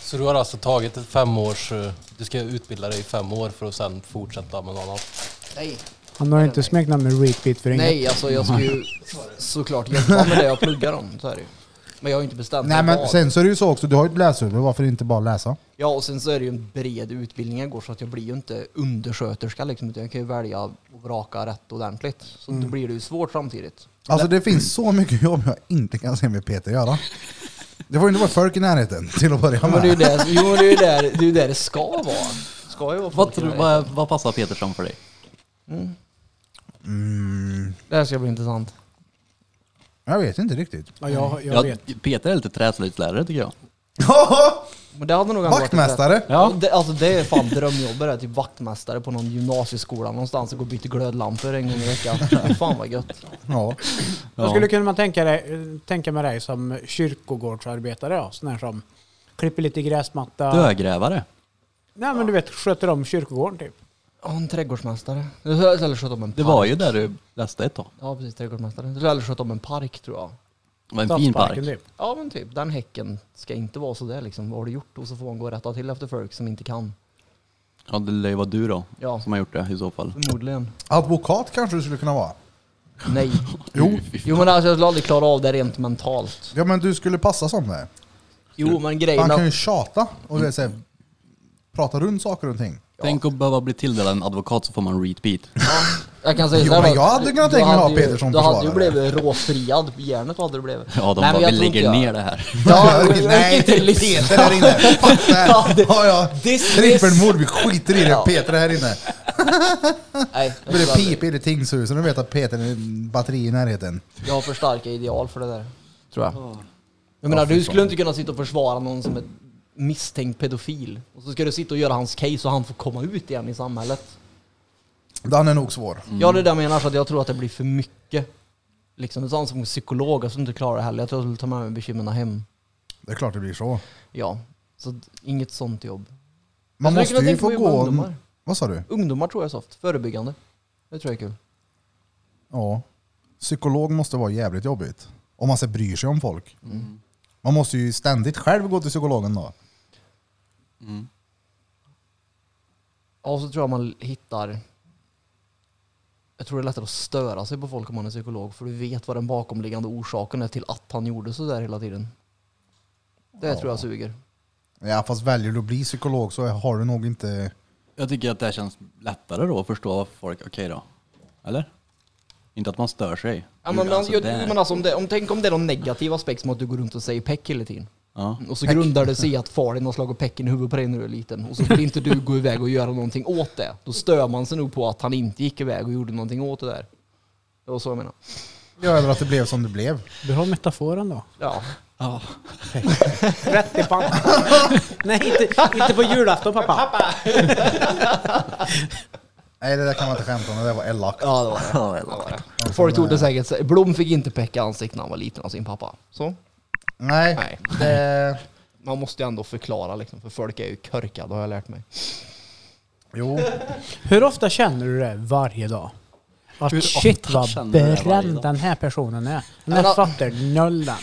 E: Så du har alltså tagit ett femårs... eh, Du ska utbilda dig i fem år för att sen fortsätta med något annat.
C: Nej,
B: Han har ju inte smeknamnet Repeat för inget.
C: nej alltså jag ska ju såklart jobba med det jag pluggar om. Så är det ju. Men jag har ju inte bestämt
A: Nej
C: mig
A: men
C: vad.
A: sen så är det ju så också, du har ju ett läshuvud, varför inte bara läsa?
C: Ja och sen så är det ju en bred utbildning jag går så att jag blir ju inte undersköterska liksom. Utan jag kan ju välja och vraka rätt ordentligt. Så
A: Mm.
C: då blir det ju svårt samtidigt.
A: Alltså det finns så mycket jobb jag inte kan se med Peter göra. Det får ju inte vara folk i närheten till att börja
C: Ja, men det är ju
A: med.
C: där, jo, men det, är ju där, det är ju där det ska vara. Ska ju vara
D: Vad,
C: folk i
D: tror, du-
C: närheten.
D: vad, vad passar Peter fram för dig?
C: Det här ska bli intressant.
A: Jag vet inte riktigt.
B: Ja, jag, jag
D: Ja,
B: vet.
D: Peter är lite träslöjdslärare tycker jag.
C: Men det hade nog ändå varit ett-
A: Vaktmästare!
C: Ja. Det, alltså det är fan drömjobbet det, typ vaktmästare på någon gymnasieskola någonstans och gå och byta glödlampor en gång i veckan. Fy Fan vad gött.
A: Ja.
B: Jag skulle kunna tänka, dig, tänka mig dig som kyrkogårdsarbetare. Ja. Sån här som klipper lite gräsmatta.
D: Dödgrävare.
B: Nej men du vet, sköter om kyrkogården typ.
C: Ja, en trädgårdsmästare. Eller sköt om en park.
D: Det var ju där du läste ett tag.
C: Ja, precis. Trädgårdsmästare. Eller sköt om en park tror jag.
D: Det var en fin park.
B: Stadsparken, Typ.
C: Ja men typ, den häcken ska inte vara sådär liksom. Vad har du gjort? Och så får man gå och rätta till efter folk som inte kan.
D: Ja, det lär ju vara du då
C: Ja.
D: som har gjort det i så fall.
C: Förmodligen.
A: Advokat kanske du skulle kunna vara.
C: Nej.
A: Jo.
C: Jo men alltså jag skulle aldrig klara av det rent mentalt.
A: Ja men du skulle passa som det.
C: Jo men
A: Man
C: grejen
A: kan ju
C: att...
A: tjata och du vet, så här, prata runt saker och ting.
D: Tänk att behöva bli tilldelad en advokat så får man repeat.
C: Jag kan säga
A: Jo,
C: såhär
A: men jag hade kunnat tänka mig att ha Peter som
C: Du hade ju
A: försvarare.
C: blivit råfriad på järnet hade du blivit.
D: Ja, de
C: Nej, men
D: bara,
C: jag
D: vi
C: tror inte
D: lägger
C: jag-
D: ner det här.
C: Ja, jag orkar
A: nej,
C: inte lyssna.
A: Peter här inne. Fuck det
C: Ja,
A: här.
C: det-
A: Ja, ja.
C: Dismiss.
A: Trippelmord, vi skiter i det.
C: Ja.
A: Peter här inne.
C: Nej, jag,
A: Då blir det
C: skulle aldrig-
A: pip i det tingshuset. Du vet att Peter är en batteri i närheten.
C: jag har för starka ideal för det där. Tror jag. Jag menar du skulle inte kunna sitta och försvara någon som är misstänkt pedofil. Och så ska du sitta och göra hans case och han får komma ut igen i samhället.
A: Den är nog svår.
C: Ja, det är det jag menar. Så att jag tror att det blir för mycket. Liksom, det är sånt som psykolog, jag skulle inte klara det heller. Jag tror jag skulle ta med mig bekymren hem.
A: Det är klart det blir så.
C: Ja, så d- inget sånt jobb.
A: Man
C: Jag skulle
A: måste
C: kunna
A: ju
C: tänka
A: få
C: mig att jobba med
A: gå...
C: Ungdomar.
A: Vad sa du?
C: ungdomar tror jag är soft. Förebyggande. Det tror jag är kul.
A: Ja. Psykolog måste vara jävligt jobbigt. Om man så bryr sig om folk.
C: Mm.
A: Man måste ju ständigt själv gå till psykologen då.
D: Mm.
C: Ja, och så tror jag man hittar... Jag tror det är lättare att störa sig på folk om man är psykolog. För du vet vad den bakomliggande orsaken är till att han gjorde sådär hela tiden. Det tror jag suger.
A: Ja, fast väljer du att bli psykolog så har du nog inte...
D: Jag tycker att det här känns lättare då att förstå vad folk, okej då. Eller? Inte att man stör sig.
C: Ja, men,
D: Alltså,
C: jag,
D: det-
C: men alltså, om, det, om, tänk om det är någon negativ aspekt som att du går runt och säger peck hela tiden.
D: ja.
C: Och så grundar det sig i att far din har slagit pecken i huvudet på dig när du är liten. Och så vill inte du gå iväg och göra någonting åt det. Då stör man sig nog på att han inte gick iväg och gjorde någonting åt det där. Det var så jag menade.
A: Ja, över att det blev som det blev.
B: Bra metaforen då.
C: Ja.
D: Ja.
B: Rätt i pannan. Nej, inte, inte på julafton pappa.
A: Nej, det där kan man inte skämta om. Det där var elakt.
C: ja, det var det.
D: Ja, eller-
C: Folk trodde säkert så- Blom fick inte pecka i ansiktet när han var liten av sin pappa. Så.
A: Nej.
C: Nej.
A: Det...
C: Man måste ju ändå förklara liksom, för folk är ju körkade har jag lärt mig.
A: Jo.
B: Hur ofta känner du det varje dag? Att
D: Hur
B: shit
D: ofta
B: vad
D: känner du det varje
B: bränd
D: dag?
B: den här personen är. Den
C: Men
B: här
C: då-
B: fattar nollan.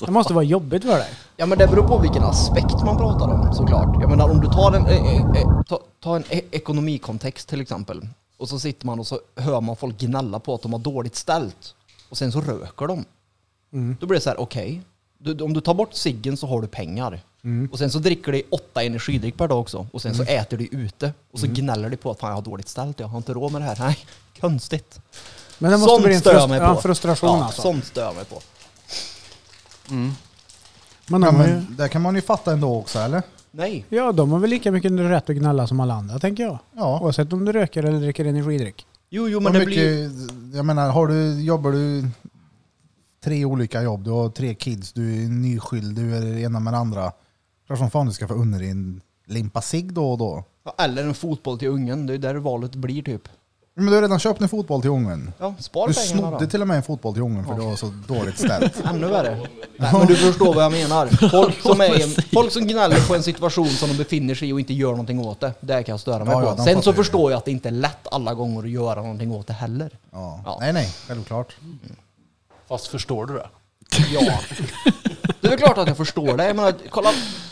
B: Det måste vara jobbigt för dig.
C: Ja men det beror på vilken aspekt man pratar om såklart. Jag menar om du tar en, eh, eh, eh, ta, ta en e- ekonomikontext till exempel. Och så sitter man och så hör man folk gnälla på att de har dåligt ställt. Och sen så röker de.
B: Mm.
C: Då blir det så här, okej. Du- du- Om du tar bort ciggen så har du pengar.
B: Mm.
C: Och sen så dricker du åtta energidryck per dag också. Och sen så äter du ute. Och
B: Mm.
C: så gnäller du på att fan jag har dåligt ställt, jag har inte råd med det här. Nej, konstigt.
B: Men det måste
C: Sånt
B: bli en,
C: stör jag
B: frust-
C: mig
B: ja, en
C: på.
B: frustration
C: ja,
B: alltså.
C: Sånt stör jag mig på.
B: Men
A: Ja,
B: de har ju,
A: men det kan man ju fatta ändå också, eller?
C: Nej.
B: ja, de har väl lika mycket rätt att gnälla som alla andra tänker jag.
A: Ja.
B: Oavsett om du röker eller dricker energidryck.
C: Jo, jo
A: Men
C: men
A: det
C: det blir ju...
A: mycket, Jag menar, har du, jobbar du tre olika jobb, du har tre kids, du är nyskild, du är det ena med det andra. Klart som fan du ska få under dig en limpa cigg då och då.
C: Ja, Eller en fotboll till ungen, det är där valet blir typ.
A: Men du har redan köpt en fotboll till ungen.
C: Ja, spar
A: Du
C: pengarna då.
A: snodde till och med en fotboll till ungen för det var så dåligt ställt.
C: Ännu värre. Nej, men du förstår vad jag menar. Folk som, är, folk som gnäller på en situation som de befinner sig i och inte gör någonting åt det, där kan jag störa mig
A: Ja, ja,
C: på.
A: de
C: Sen
A: fattar
C: så
A: ju det.
C: förstår jag att det inte är lätt alla gånger att göra någonting åt det heller.
A: Ja.
C: Ja.
A: Nej, nej, självklart.
E: Fast förstår du det?
C: Ja. Det är väl klart att jag förstår det. Jag menar, kolla,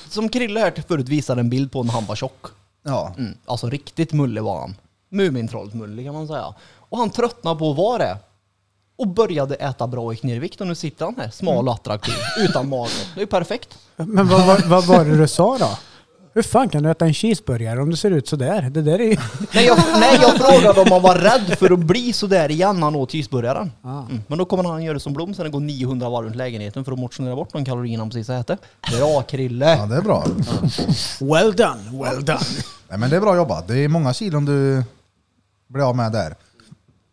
C: som Krille här till förut visade en bild på när han var tjock.
A: Ja.
C: Mm. Alltså riktigt mullig var han. Mumintrollet mullig kan man säga. Och han tröttnade på att vara det. Och började äta bra och gick ner i vikt och nu sitter han här smal och attraktiv
A: Mm.
C: utan mage. Det är ju perfekt.
B: Men vad, vad, vad var det du sa då? Hur fan kan du äta en cheeseburgare om du ser ut sådär? Det där är ju...
C: Nej jag, nej, jag frågade om han var rädd för att bli sådär igen när han åt cheeseburgaren.
B: Ah.
C: Mm. Men då kommer han göra som Blom sen och gå 900 varv runt lägenheten för att motionera bort de kalorierna han precis ätit. Bra
A: ja,
C: Krille!
A: det är bra.
B: Well done, well done.
A: Nej, men det är bra jobbat. Det är många kilon du blir av med där.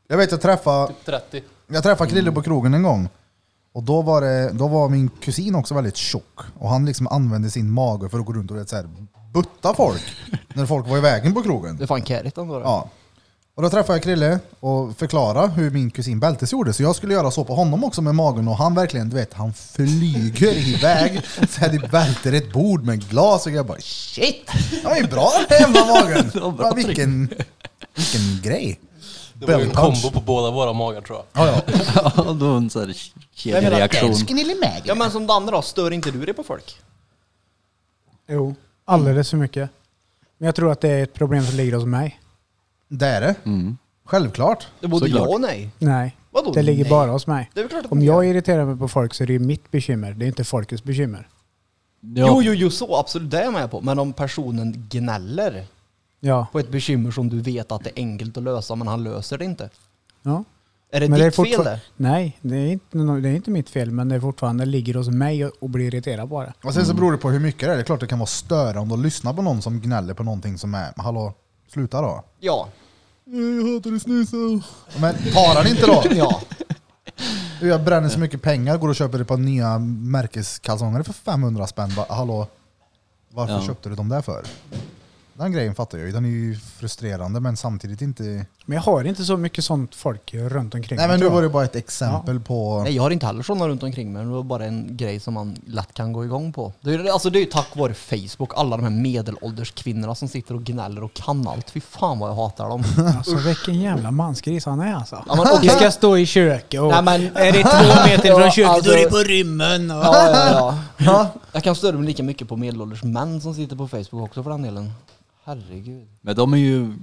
A: Jag vet, jag träffade
E: 30.
A: Jag träffade Krille
E: Mm.
A: på krogen en gång. Och då var, det, då var min kusin också väldigt tjock. Och han liksom använde sin mage för att gå runt och vet, så här, butta folk. när folk var i vägen på krogen.
C: Det är fan kärigt ändå. det.
A: Ja. Och Och då träffade jag Krille och förklarade hur min kusin Bältes gjorde. Så jag skulle göra så på honom också med magen och han verkligen, du vet, han flyger iväg. Så här, det välter ett bord med glas och jag bara shit! Det var ju bra den här jävla magen! Bara, vilken, vilken grej!
E: Det var ju en
A: Bellpunch.
E: kombo på båda våra magar tror jag.
A: Ja, ja.
D: Ja, då en sån här kedjereaktion.
C: Ja men som Danne då, stör inte du dig på folk?
B: Jo, alldeles för mycket. Men jag tror att det är ett problem som ligger hos mig.
A: Det är det.
E: Mm.
A: Självklart.
C: Det både
D: Såklart.
C: ja och nej.
B: Nej,
C: Vadå
B: det ligger
C: nej?
B: bara hos mig.
C: Det är väl klart att
B: Om jag irriterar mig på folk så är det ju mitt bekymmer. Det är inte folkets bekymmer.
D: Ja.
C: Jo, jo, jo, så absolut, det är jag med på. Men om personen gnäller
B: Ja.
C: på ett bekymmer som du vet att det är enkelt att lösa, men han löser det inte.
B: ja.
C: Är det
B: Men
C: ditt
B: fortfar-
C: fel det?
B: Nej, det är, inte, nå- det är inte mitt fel. Men det är fortfarande ligger hos mig och- och blir irriterad på det.
A: Och sen så beror det på hur mycket det är. Det är klart det kan vara störande att lyssna på någon som gnäller på någonting som är, hallå, sluta då.
C: Ja.
A: Jag hatar att snusa. Men parar ni inte då?
C: Ja.
A: Du, Jag bränner så mycket pengar, går och köper ett par nya märkeskalsonger för 500 spänn. Bara, hallå, varför
D: Ja.
A: köpte du dem där för? Den grejen fattar jag ju. Den är ju frustrerande men samtidigt inte...
B: Men jag har inte så mycket sånt folk runt omkring
A: Nej
B: mig,
A: men nu
B: tror jag.
A: var det bara ett exempel på...
C: Nej, jag har inte heller sådana runt omkring mig. men Det var bara en grej som man lätt kan gå igång på. Det är, alltså, det är ju tack vare Facebook, alla de här medelålders kvinnorna som sitter och gnäller och kan allt. Fy fan vad jag hatar dem.
B: Alltså vilken jävla mansgris han är alltså.
C: Ja, men okej.
B: Vi ska stå i köket och
C: Nej, men-
B: är det två meter
C: Ja,
B: från köket
C: alltså-
B: då är det på rymmen. Och...
C: Ja, ja, ja. Jag kan störa mig lika mycket på medelålders män som sitter på Facebook också för den delen. Herregud.
D: Men de är ju...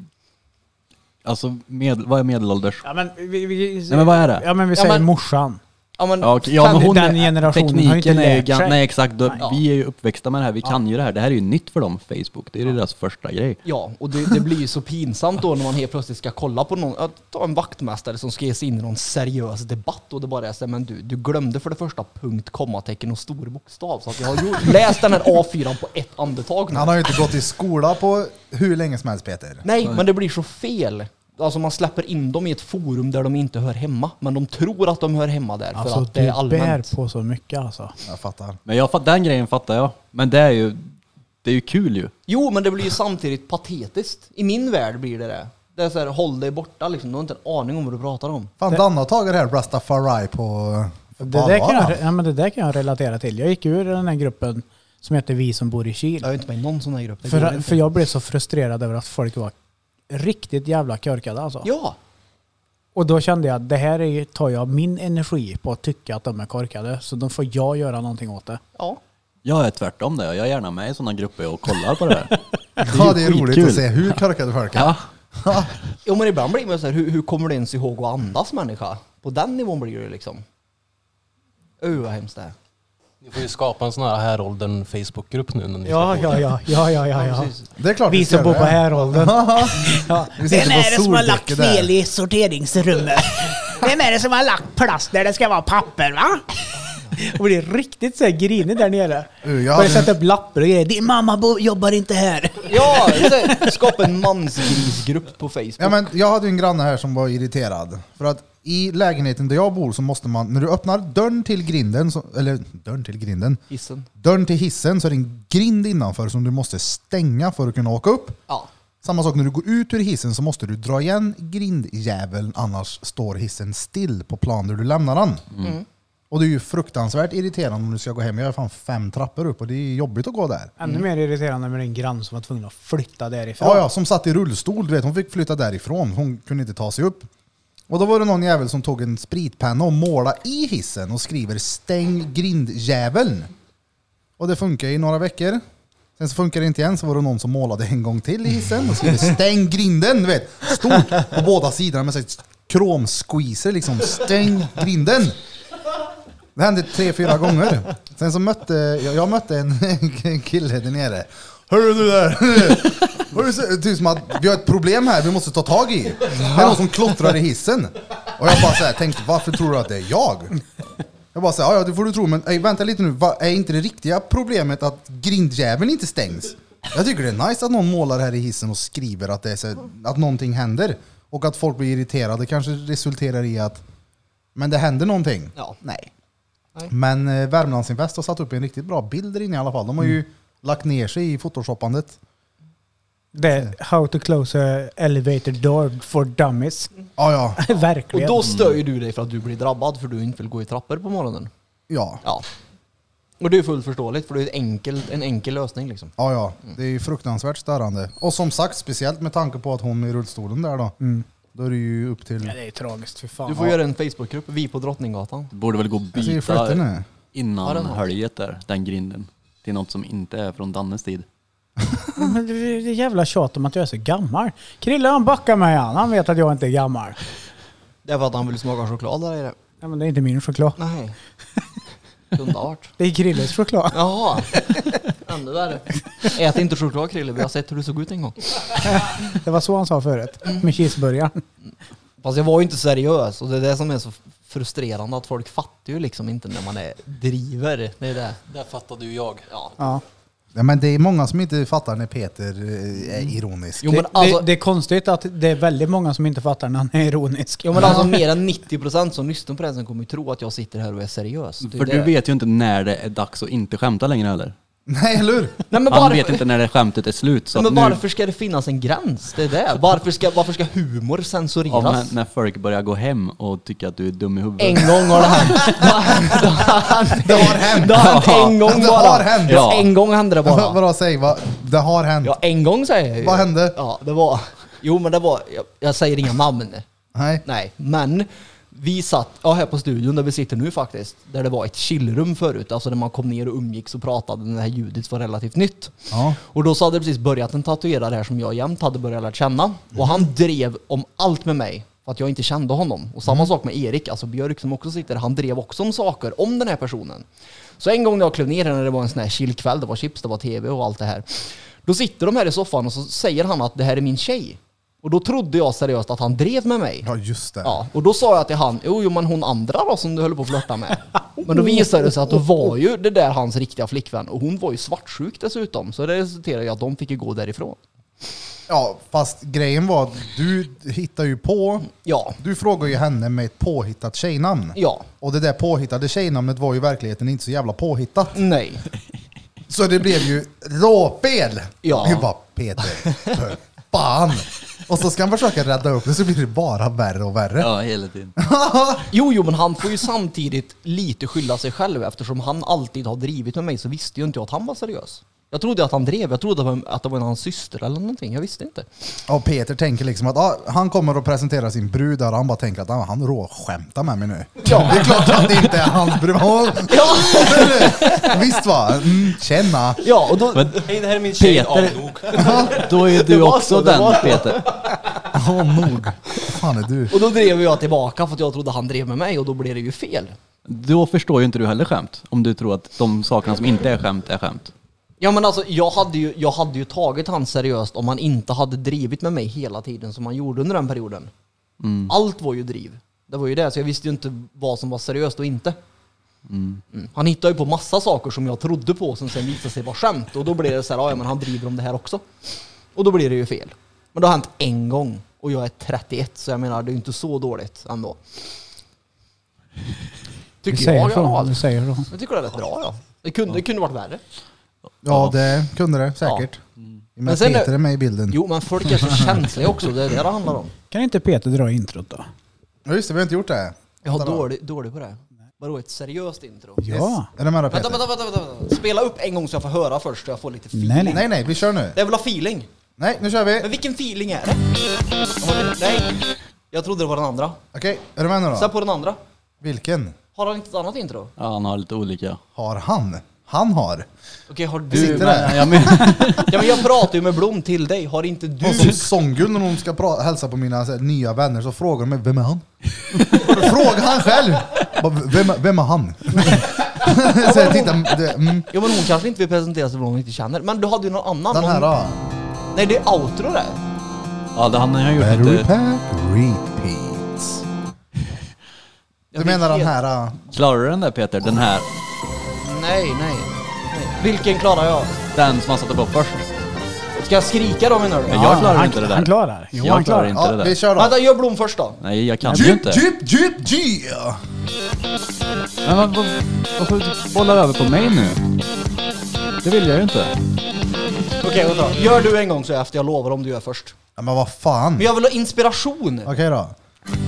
D: Alltså, med, vad är medelålders?
B: Ja, men, vi, vi,
D: Nej men vad är det?
B: ja, men vi
C: Ja,
B: säger
C: men-
B: morsan.
C: Ja men,
D: Ja, okej, ja, men hon
B: Den
D: är-
B: generationen har ju inte
D: tekniken är ju
B: lärt sig.
D: gan- Nej exakt, då,
C: Nej.
D: vi är ju uppväxta med det här, vi kan ju det här. Det här är ju nytt för dem, Facebook. Det är ju deras första grej.
C: Ja, och det, det blir ju så pinsamt då när man helt plötsligt ska kolla på någon, att ta en vaktmästare som ska ge sig in i någon seriös debatt och det bara är så här, men du, du glömde för det första punkt, kommatecken och stor bokstav. Så att jag har ju läst den här A4 på ett andetag
A: Han
C: nu.
A: har ju inte gått i skola på hur länge som helst Peter.
C: Nej, men det blir så fel. Alltså man släpper in dem i ett forum där de inte hör hemma, men de tror att de hör hemma där för
B: Alltså
C: att det är
B: du
C: allmänt.
B: bär på så mycket alltså.
A: Jag fattar.
D: Men jag, fatt- den grejen fattar jag. Men det är ju, det är ju kul ju.
C: Jo, men det blir ju samtidigt patetiskt. I min värld blir det det. Det är så här, håll dig borta liksom. Du har inte en aning om vad du pratar om.
A: Fan, Danne har tagit det här Rastafari på... på
B: Det där, kan
A: allvar.
B: jag, ja, men det där kan jag relatera till. Jag gick ur den här gruppen som heter Vi som bor i Kil.
C: Jag är inte med i någon sån här grupp. Det går
B: För,
C: inte.
B: för jag blev så frustrerad över att folk var riktigt jävla korkade alltså.
C: Ja,
B: Och då kände jag att det här är, ju- tar jag min energi på att tycka att de är korkade. Så då får jag göra någonting åt det.
C: ja.
D: Jag är tvärtom där, jag är gärna med i sådana grupper och kollar på det här.
A: Ja, det är roligt
D: skitkul.
A: att se hur korkade folk är.
D: Ja.
C: Jo men ibland blir man så här, hur, hur kommer du ens ihåg att andas människa? På den nivån blir det ju liksom. Uh, vad hemskt det är.
E: Ni får ju skapa en sån här häråldern Facebookgrupp nu när ni
B: Ja,
E: ska
B: ja, ja, ja, ja, ja. ja.
C: precis.
A: Det är klart
B: Vi
A: ska
B: som bor
A: göra
B: på
A: det.
B: häråldern. Ja.
A: Vi sitter på soldäcket där.
B: i sorteringsrummet? Vem är det som har lagt plast där det ska vara papper va? Och blir riktigt så här grinig där nere.
A: Uh, jag
B: Börjar
A: hade-
B: sätta upp lappar och grejer. Din mamma bo- jobbar inte här.
C: Ja, det är så här, skapa en mansgrisgrupp på Facebook.
A: Ja, men jag hade ju en granne här som var irriterad. För att i lägenheten där jag bor så måste man, när du öppnar dörren till grinden, så, eller dörren till grinden,
C: Hissen.
A: dörren till hissen så är det en grind innanför som du måste stänga för att kunna åka upp.
C: Ja.
A: Samma sak när du går ut ur hissen så måste du dra igen grindjäveln annars står hissen still på plan där du lämnar den. Och det är ju fruktansvärt irriterande om du ska gå hem. Jag har fan fem trappor upp och det är jobbigt att gå där.
B: Ännu mer irriterande med din grann som var tvungen att flytta därifrån.
A: Ja, ja, som satt i rullstol. Du vet, hon fick flytta därifrån. Hon kunde inte ta sig upp. Och då var det någon jävel som tog en spritpenna och målade i hissen och skriver stäng grindjäveln. Och det funkar i några veckor. Sen så funkar det inte igen, så var det någon som målade en gång till i hissen och skrev stäng grinden, du vet. Stort på båda sidorna med så här kromsqueezer liksom. Stäng grinden! Det hände tre, fyra gånger. Sen så mötte jag, jag mötte en, en kille där nere. Hörru du där! Hörru, du, ser- typ som att vi har ett problem här vi måste ta tag i. Det är någon som klottrar i hissen. Och jag bara så här, tänkte varför tror du att det är jag? Jag bara säger, ja det får du tro, men ey, vänta lite nu. Va, är inte det riktiga problemet att grindjäveln inte stängs? Jag tycker det är nice att någon målar här i hissen och skriver att, det är så, att någonting händer. Och att folk blir irriterade kanske resulterar i att, men det händer någonting.
C: Ja.
A: Nej. Men eh, Värmlandsinvest har satt upp en riktigt bra bild där inne i alla fall. De har ju lagt ner sig i photoshoppandet.
B: Det är How to close a elevator door for dummies.
A: Ja, ja.
C: Och
B: Verkligen.
C: då stör ju du dig för att du blir drabbad för du inte vill gå i trappor på morgonen.
A: Ja,
C: Ja. Och det är ju fullt förståeligt för det är ett enkelt, en enkel lösning liksom.
A: ja. ja. Det är ju fruktansvärt störande. Och som sagt, speciellt med tanke på att hon är i rullstolen där då. Då är det ju upp
B: Ja,
A: till...
B: det är tragiskt. Fy fan.
C: Du får göra en Facebookgrupp, Vi på Drottninggatan.
D: Det borde väl gå att
A: Jag ser ju fötter
D: byta
A: nu.
C: Ja, det är
D: innan
C: något.
D: höljet där, den grinden. Till något som inte är från Dannes tid.
B: Men det är det jävla tjat om att jag är så gammal. Krille han backar mig han. Han vet att jag inte är gammal.
C: Det är för att han vill smaka choklad där nere.
B: Ja, men det är inte min choklad.
C: Nej. Kunde ha varit.
B: Det är Krilles choklad.
C: Jaha. Ännu värre. Ät inte choklad Krille, vi har sett hur du såg ut en gång.
B: Det var så han sa förut. Med cheeseburgaren.
C: Fast jag var ju inte seriös och det är det som är så frustrerande att folk fattar ju liksom inte när man är driver. Det är det.
E: Där fattade ju jag. Ja.
B: Ja.
A: Ja, men det är många som inte fattar när Peter eh, är ironisk.
C: Jo men alltså,
B: det, det är konstigt att det är väldigt många som inte fattar när han är ironisk.
C: jo, men alltså mer än 90% som lyssnar på det här sen kommer ju tro att jag sitter här och är seriös. Det är
D: För
C: det.
D: du vet ju inte när det är dags att inte skämta längre heller.
A: Nej, eller hur?
C: Nej, men
D: Han
C: varför,
D: vet inte när det skämtet är slut. Så
C: men
D: att nu,
C: varför ska det finnas en gräns? Det är det. Varför ska, varför ska humor
D: av
C: censureras?
D: när, när folk börjar gå hem och tycka att du är dum i huvudet.
C: En gång har det hänt.
A: Det har hänt!
C: Det har hänt en gång
A: Det
C: bara.
A: har hänt.
D: Ja.
C: En gång hände det bara.
A: Vadå, säg vad? Det har hänt.
C: Ja, en gång säger jag ju.
A: Vad hände?
C: Ja, det var... Jo, men det var... Jag, jag säger inga namn.
A: Nej.
C: Nej, men vi satt ja, här på studion där vi sitter nu faktiskt, där det var ett chillrum förut, alltså där man kom ner och umgicks och pratade när det här ljudet var relativt nytt.
A: Ja.
C: Och då så hade det precis börjat en tatuerare här som jag jämt hade börjat lära känna. Och han drev om allt med mig för att jag inte kände honom. Och samma sak med Erik, alltså Björk som också sitter han drev också om saker om den här personen. Så en gång när jag klev ner här när det var en sån här chillkväll, det var chips, det var tv och allt det här. Då sitter de här i soffan och så säger han att det här är min tjej. Och då trodde jag seriöst att han drev med mig.
A: Ja, just det.
C: Ja, och då sa jag till han, jo, jo men hon andra då som du höll på att flörta med. Men då visade det sig att då var ju det där hans riktiga flickvän och hon var ju svartsjuk dessutom. Så det resulterade i att de fick ju gå därifrån.
A: Ja, fast grejen var att du hittar ju på.
C: Ja,
A: Du frågar ju henne med ett påhittat tjejnamn.
C: ja,
A: Och det där påhittade tjejnamnet var ju i verkligheten inte så jävla påhittat.
C: nej.
A: Så det blev ju råpel.
C: Ja.
A: Det var Peter, för fan. Och så ska han försöka rädda upp det så blir det bara värre och värre.
D: Ja, hela tiden.
C: Jo, jo, men han får ju samtidigt lite skylla sig själv eftersom han alltid har drivit med mig så visste ju inte jag att han var seriös. Jag trodde att han drev, jag trodde att det var- att det var hans syster eller någonting, jag visste inte.
A: Och Peter tänker liksom att ah, han kommer att presentera sin brud där och han bara tänker att ah, han råskämtar med mig nu.
C: Ja.
A: Det är klart att det inte är hans brud. Ja. Visst va? Mm, känna.
C: Ja, och då...
E: Hej, det här är min tjej.
D: Peter.
E: Ja, nog.
D: Då är ju
C: Det
D: du
C: var
D: också
C: så, det var
D: den
C: så.
D: Peter.
A: Ja, nog. fan är du?
C: Och då drev jag tillbaka för att jag trodde han drev med mig och då blev det ju fel.
D: Då förstår ju inte du heller skämt. Om du tror att de sakerna som inte är skämt är skämt.
C: Ja men alltså jag hade, ju, jag hade ju tagit han seriöst om han inte hade drivit med mig hela tiden som han gjorde under den perioden. Allt var ju driv. Det var ju det, så jag visste ju inte vad som var seriöst och inte. Mm. Han hittade ju på massa saker som jag trodde på som sen visade sig vara skämt och då blev det så här, "Ah, ja men han driver om det här också. Och då blir det ju fel. Men det har hänt en gång och jag är 31 så jag menar det är ju inte så dåligt ändå.
B: Du
C: Tycker
B: säger
C: jag i alla
B: så.
C: fall.
B: Du säger så.
C: Jag tycker det är rätt bra ja. Det kunde, det kunde varit värre.
A: Ja, det kunde det säkert. Men,
C: Mm. Men sen-
A: Peter är med i bilden.
C: Jo, men folk är så känsliga också. Det är det det handlar om.
B: Kan inte Peter dra introt då?
A: Ja, just det, vi har inte gjort det.
C: Jag har
A: Vänta då.
C: dålig, dålig på det. Vadå, ett seriöst intro?
B: Ja.
A: Är du med då
C: Vänta,
A: Peter?
C: vänta, vänta, vänta. vänta. Spela upp en gång så jag får höra först så jag får lite feeling.
B: Nej, nej.
A: Nej, nej, vi kör nu.
C: Jag vill ha feeling.
A: Nej, nu kör
C: Men
A: vi.
C: vilken feeling är det? Har du- Nej. Jag trodde det var den andra.
A: Okej, är du med nu
C: Sätt
A: då?
C: på den andra.
A: Vilken
C: Har han inte ett annat intro?
D: Ja, han har lite olika.
A: har han? Han har.
C: Okej, har du...
A: Sitter där.
D: Jag men,
C: Ja, men jag pratar ju med Blom till dig. Har inte
A: Hon som
C: du...
A: Songul när hon ska pra- hälsa på mina så här, nya vänner så frågar de mig, vem är han? Fråga han själv! Bara, Vem, vem är han? så jag tittar, det, mm,
C: Ja, men hon kanske inte vill presentera sig för någon hon inte känner. Men du hade ju någon annan.
A: den här
C: Någon-
A: då.
C: Nej, det är outro det.
D: ja, det, han har ju gjort
A: Battery
D: lite...
A: pack repeats. Du
C: Jag
A: menar
C: vet
A: den här? äh,
D: Klarar du den där Peter? Den här.
C: Nej, nej. nej. Vilken klarar jag?
D: Den som han satte på först.
C: Ska jag skrika då menar du?
D: Ja. Jag klarar
B: han,
D: inte det där.
B: Han klarar. Jo,
D: Jag
B: han klarar.
D: klarar inte.
A: Ja,
D: det där.
A: vi kör då.
C: Vänta, gör Blom först då.
D: Nej, jag kan ju
A: Jip,
D: inte.
A: jip, jip, yeah!
D: Men vad- vad- varför bollar du över på mig nu? Det vill jag ju inte.
C: Okej, vänta. Gör du en gång så är jag efter, jag lovar om du gör först.
A: Ja, men vad fan.
C: Men jag vill ha inspiration!
A: Okej då.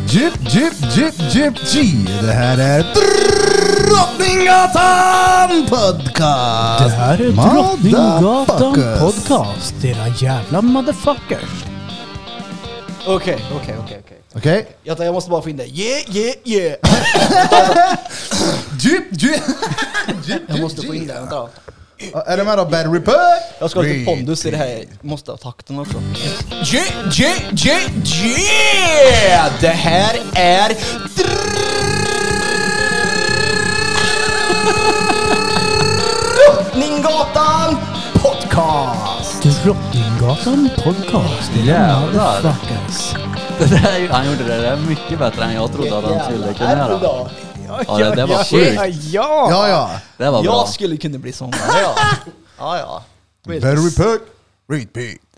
A: Jip, jip, jip, jip, G. Det här är Drottninggatan Podcast!
B: Det här är Drottninggatan
A: Motherfuckers.
B: Podcast. Era jävla motherfuckers.
C: Okej, okej, okej. okej.
A: Okej.
C: Vänta, Jag måste bara få in det. Yeah, yeah, yeah!
A: Jip, jip. Jip,
C: Jag
A: jip,
C: måste få in
A: jip.
C: det, vänta då.
A: Ja, Är du med då? Bad Report?
C: Jag ska ha lite
A: Read.
C: pondus i det här. Måste ha takten också.
H: Yeah, yeah, yeah, yeah! Det här är...
C: Drottninggatan Podcast!
B: Drottninggatan Podcast. Era
D: Jävlar.
B: motherfuckers.
D: Det där, är ju- han gjorde det där mycket bättre än jag trodde att han skulle kunna göra. Ja, det där var sjukt.
B: Ja!
A: Ja, ja.
D: Det var bra.
C: Jag skulle kunna bli sångare, ja. ja, ja.
A: Bad Report? Repeat.